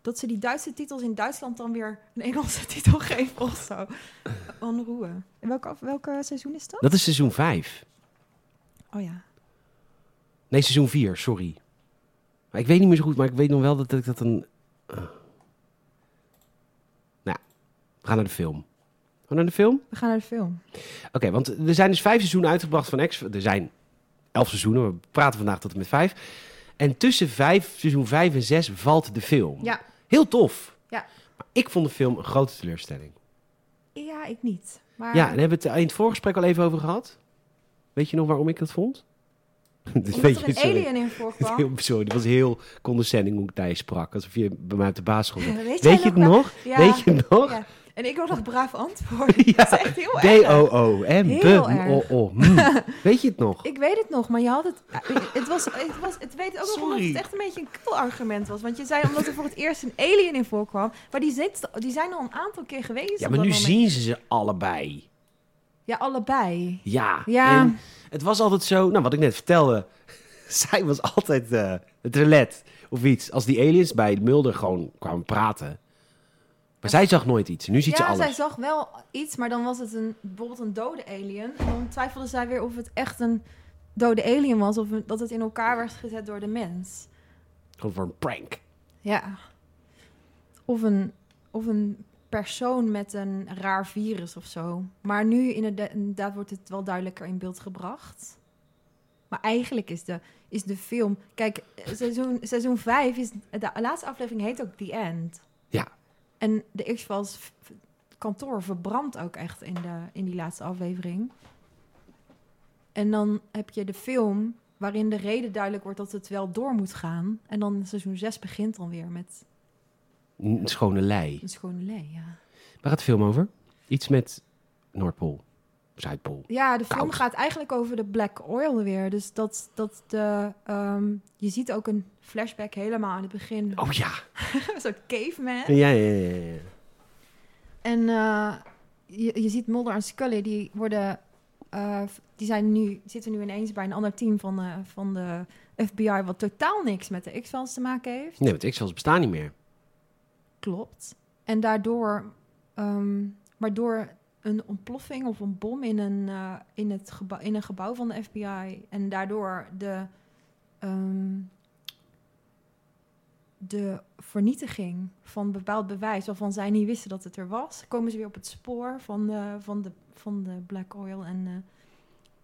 dat ze die Duitse titels in Duitsland dan weer een Engelse titel geven of zo. Onroe. En welke, af- welke seizoen is dat?
Dat is seizoen 5.
Oh ja.
Nee, seizoen 4, sorry. Maar ik weet niet meer zo goed, maar ik weet nog wel dat ik dat een... Ah. Nou, we gaan naar de film. Gaan we naar de film?
We gaan naar de film.
Oké, want er zijn dus vijf seizoenen uitgebracht van X. Er zijn elf seizoenen, we praten vandaag tot en met vijf. En tussen vijf, seizoen vijf en zes valt de film.
Ja.
Heel tof.
Ja.
Maar ik vond de film een grote teleurstelling.
Ja, ik niet. Maar
Ja, en daar hebben we het in het voorgesprek al even over gehad. Weet je nog waarom ik dat vond? Dit is
omdat
beetje-
er een
sorry.
alien in voorkwam.
Heel, sorry, dat was heel condescending hoe ik Thijs sprak. Alsof je bij mij op de basisschool zat.
Weet, jij
Weet je het
wel?
nog?
Ja.
Weet je het nog?
Ja. En ik wil nog braaf antwoorden.
Ja.
Dat is echt heel erg.
D-O-O, hè?
Heel
B-
erg.
o- o- mm. Weet je het nog?
Ik weet het nog, maar je had het. Het, was, het, was, het weet ook nog omdat
Sorry.
het echt een beetje een kul argument was. Want je zei omdat er voor het eerst een alien in voorkwam. Maar die, zit, die zijn al een aantal keer geweest.
Ja,
op
maar
dat
nu
moment.
zien ze ze allebei.
Ja, allebei.
Ja.
Ja.
En het was altijd zo, nou wat ik net vertelde. Zij was altijd eh, het relet of iets. Als die aliens bij Mulder gewoon kwamen praten. Maar zij zag nooit iets. Nu ziet ze
ja,
alles.
zij zag wel iets, maar dan was het een, bijvoorbeeld een dode alien. En dan twijfelde zij weer of het echt een dode alien was. Of een- dat het in elkaar werd gezet door de mens.
Gewoon voor een prank.
Ja. Of een, of een persoon met een raar virus of zo. Maar nu inderda- inderdaad wordt het wel duidelijker in beeld gebracht. Maar eigenlijk is de, is de film... Kijk, eh, seizoen, seizoen 5 is... De laatste aflevering heet ook The End.
Ja.
En de X-Files v- v- kantoor verbrandt ook echt in, de, in die laatste aflevering. En dan heb je de film waarin de reden duidelijk wordt dat het wel door moet gaan. En dan seizoen 6 begint dan weer met
Een schone lei.
een schone lee, ja.
Waar gaat de film over? Iets met Noordpool, Zuidpool.
Ja, de film
Koud.
gaat eigenlijk over de black oil weer. Dus dat, dat de, ehm, je ziet ook een flashback helemaal aan het begin.
Oh ja.
Een soort caveman.
Ja, ja, ja. ja, ja.
En eh, je, je ziet Mulder en Scully, die worden... eh, f- die zijn nu, zitten nu ineens bij een ander team van de, van de FBI... wat totaal niks met de X-Files te maken heeft.
Nee, want X-Files bestaan niet meer.
Klopt. En daardoor, ehm, waardoor een ontploffing of een bom in een, eh, in, het gebou- in een gebouw van de FBI. En daardoor de, ehm, de vernietiging van bepaald bewijs waarvan zij niet wisten dat het er was. Komen ze weer op het spoor van de, van de, van de Black Oil. En eh,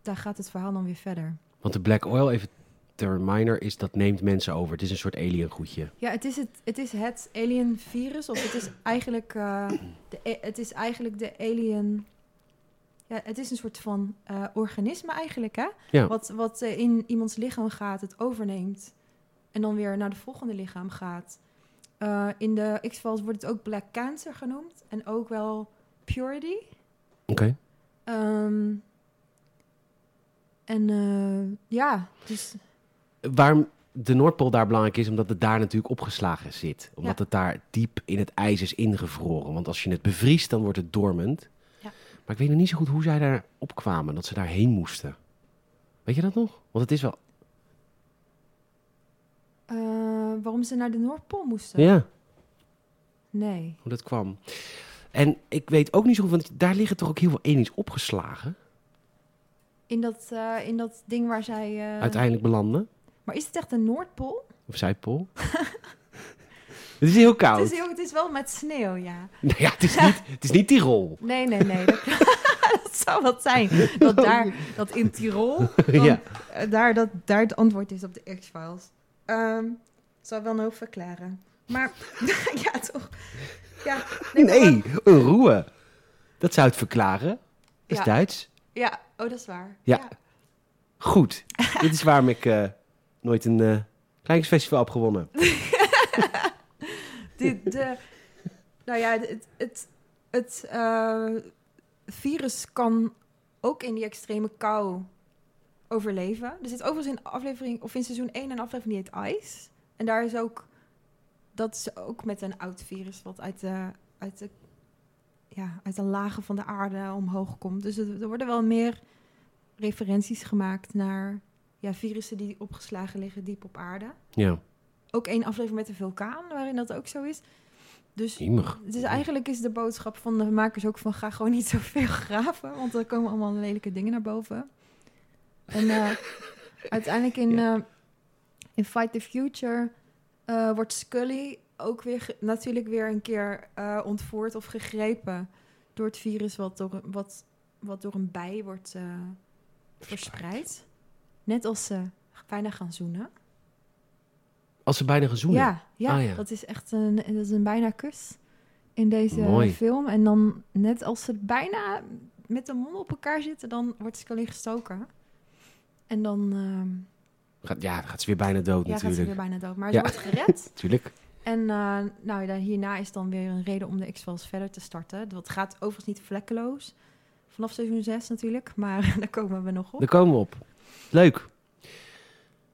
daar gaat het verhaal dan weer verder.
Want de Black Oil, even ter reminder, is dat neemt mensen over. Het is een soort alien goedje.
Ja, het is het, het, is het alien virus, of het is eigenlijk, eh, de, e- het is eigenlijk de alien. Ja, het is een soort van eh, organisme eigenlijk, hè?
Ja.
Wat, wat eh, in iemands lichaam gaat, het overneemt. En dan weer naar de volgende lichaam gaat. Eh, in de X-Files wordt het ook Black Cancer genoemd. En ook wel Purity.
Oké.
Ehm, en eh, ja, dus
Waarom de Noordpool daar belangrijk is, omdat het daar natuurlijk opgeslagen zit. Omdat
Ja.
het daar diep in het ijs is ingevroren. Want als je het bevriest, dan wordt het dormend.
Ja.
Maar ik weet nog niet zo goed hoe zij daar opkwamen, dat ze daarheen moesten. Weet je dat nog? Want het is wel...
eh, waarom ze naar de Noordpool moesten?
Ja,
Nee.
hoe dat kwam. En ik weet ook niet zo goed, want daar liggen toch ook heel veel aliens opgeslagen.
In dat, eh, in dat ding waar zij. eh,
Uiteindelijk belanden.
Maar is het echt de Noordpool?
Of Zuidpool. het is heel koud.
Het is, heel, het is wel met sneeuw, ja.
Nou ja, het is niet, het is niet Tirol.
Nee, nee, nee. Dat, dat zou wat zijn. Dat daar, dat in Tirol. dan,
Oh, Ja.
eh, daar, dat, daar het antwoord is op de X-Files. Ehm zou wel een hoop verklaren. Maar ja, toch. Ja, maar
Nee,
wat-
een roe. Dat zou het verklaren. Dat is
Ja.
Duits.
Ja, oh, dat is waar.
Ja. Goed. Dit is waarom ik eh, nooit een eh kleinkunstfestival heb gewonnen.
De, de, nou ja, het, het, het eh, virus kan ook in die extreme kou overleven. Er zit overigens in aflevering, of in seizoen 1 een aflevering die heet Ice. En daar is ook, dat is ook met een oud virus wat uit de, uit de, ja, uit de lagen van de aarde omhoog komt. Dus het- er worden wel meer referenties gemaakt naar ja, virussen die opgeslagen liggen diep op aarde
Ja,
ook één aflevering met een vulkaan, waarin dat ook zo is. Dus
Iemig.
het is eigenlijk is de boodschap van de makers ook van ga gewoon niet zoveel graven, want er komen allemaal lelijke dingen naar boven. En eh, uiteindelijk in, eh, in Fight the Future eh, wordt Scully ook weer ge- natuurlijk weer een keer eh, ontvoerd of gegrepen door het virus wat door, wat, wat door een bij wordt eh, verspreid. Net als ze bijna gaan zoenen.
Als ze bijna gaan zoenen.
Ja, ja,
Ah, ja.
dat is echt een, dat is een bijna kus in deze
Mooi.
film. En dan net als ze bijna met de mond op elkaar zitten, dan wordt Scully gestoken. En dan ehm,
Gaat, ja, dan gaat ze weer bijna dood
ja, gaat ze
natuurlijk.
weer bijna dood. Maar
Ja.
ze wordt gered.
Tuurlijk.
En eh, nou, ja, hierna is dan weer een reden om de X-Files verder te starten. Dat gaat overigens niet vlekkeloos. Vanaf seizoen 6 natuurlijk, maar daar komen we nog op.
Daar komen we op. Leuk.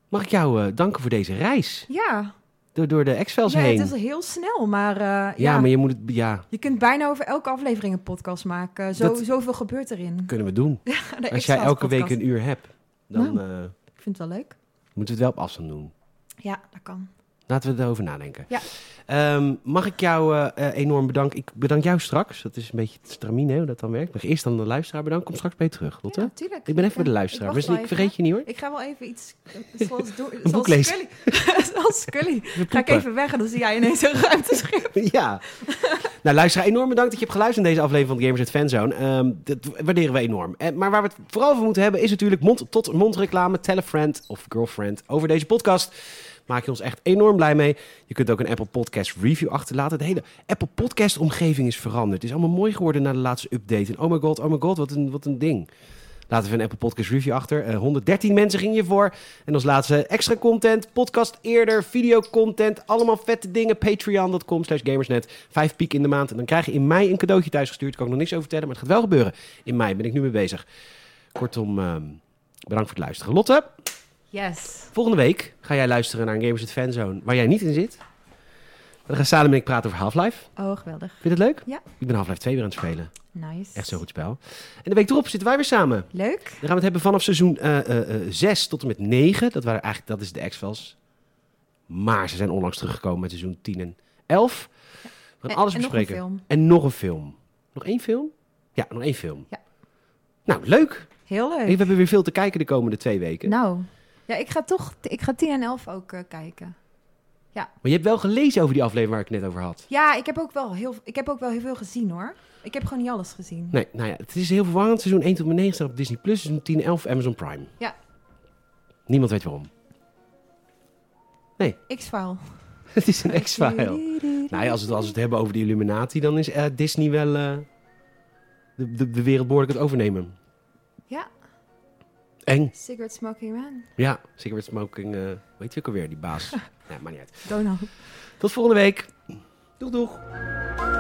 Mag ik jou eh, danken voor deze reis
Ja,
door, door de X-Files
ja
heen?
het is heel snel, maar eh,
ja, maar je moet het... Ja,
Je kunt bijna over elke aflevering een podcast maken. Zo,
Dat-
Zoveel gebeurt erin.
kunnen we doen.
De Nou.
Als jij elke
X-Files-podcast.
week een uur hebt, dan eh,
Ik vind het wel leuk.
moeten we het wel op afstand doen.
Ja, dat kan.
Laten we erover nadenken.
Ja.
Ehm, mag ik jou eh, eh, enorm bedanken? Ik bedank jou straks. Dat is een beetje het stramine, hè, hoe dat dan werkt. Mag ik eerst dan de luisteraar bedanken. Kom straks bij je terug, Lotte.
Ja, tuurlijk.
Ik ben even bij de
Ja,
luisteraar.
ik
Dus
wacht
ik
wel even,
vergeet je niet hoor.
hè. Ik ga wel even iets eh, zoals, doen, zoals
boek lezen.
Scully. zoals Scully. Ga ik
poepen.
even weg en dan zie jij ineens een ruimteschip.
ja. nou, luisteraar, enorm bedankt dat je hebt geluisterd in deze aflevering van Gamers at Fanzone. Ehm, dat waarderen we enorm. Eh, maar waar we het vooral voor moeten hebben is natuurlijk mond-tot-mond reclame. Tell a friend of girlfriend over deze podcast. Maak je ons echt enorm blij mee. Je kunt ook een Apple Podcast review achterlaten. De hele Apple Podcast omgeving is veranderd. Het is allemaal mooi geworden na de laatste update. En oh my god, oh my god, wat een, wat een ding. Laten we een Apple Podcast review achter. Eh, 113 mensen gingen hiervoor. En als laatste extra content, podcast eerder, videocontent. Allemaal vette dingen. Patreon.com slash gamersnet. Vijf piek in de maand. En dan krijg je in mei een cadeautje thuis gestuurd. Kan ik nog niks over vertellen, maar het gaat wel gebeuren. In mei ben ik nu mee bezig. Kortom, ehm, bedankt voor het luisteren. Lotte,
Yes.
volgende week ga jij luisteren naar een Gamers at Fanzone waar jij niet in zit. Dan gaan Salem en ik praten over Half-Life.
Oh, geweldig.
Vind je dat leuk?
Ja.
Ik ben Half-Life 2 weer aan het spelen.
Nice.
Echt zo'n goed spel. En de week erop zitten wij weer samen.
Leuk.
Dan gaan we het hebben vanaf seizoen eh, 6 tot en met 9. Dat, waren eigenlijk, dat is de X-Files. Maar ze zijn onlangs teruggekomen met seizoen 10 en 11. We gaan
En-
alles
en nog een
bespreken.
film.
En nog een film. Nog één film? Ja, nog één film.
Ja.
Nou, leuk.
Heel leuk.
We hebben weer veel te kijken de komende twee weken.
Nou, ja, ik ga toch, ik ga 10 en 11 ook eh, kijken.
Maar je hebt wel gelezen over die aflevering waar ik het net over had.
Ja, ik heb ook wel heel, ik heb ook wel heel veel gezien hoor. Ik heb gewoon niet alles gezien.
Nee, nou ja, het is heel verwarrend. Seizoen 1 tot en met 9 staat op Disney+. Plus, Seizoen 10 en 11 Amazon Prime.
Ja.
Niemand weet waarom.
X-File.
het is een X-File. Nou ja, als we het, als we het hebben over de Illuminati, dan is eh, Disney wel eh, de, de, de wereld behoorlijk het overnemen.
Ja.
Eng.
Cigarette Smoking Man.
Ja, cigarette smoking. eh weet je ook alweer, die baas. nee, maar niet uit.
Donald.
Tot volgende week. Doeg, doeg.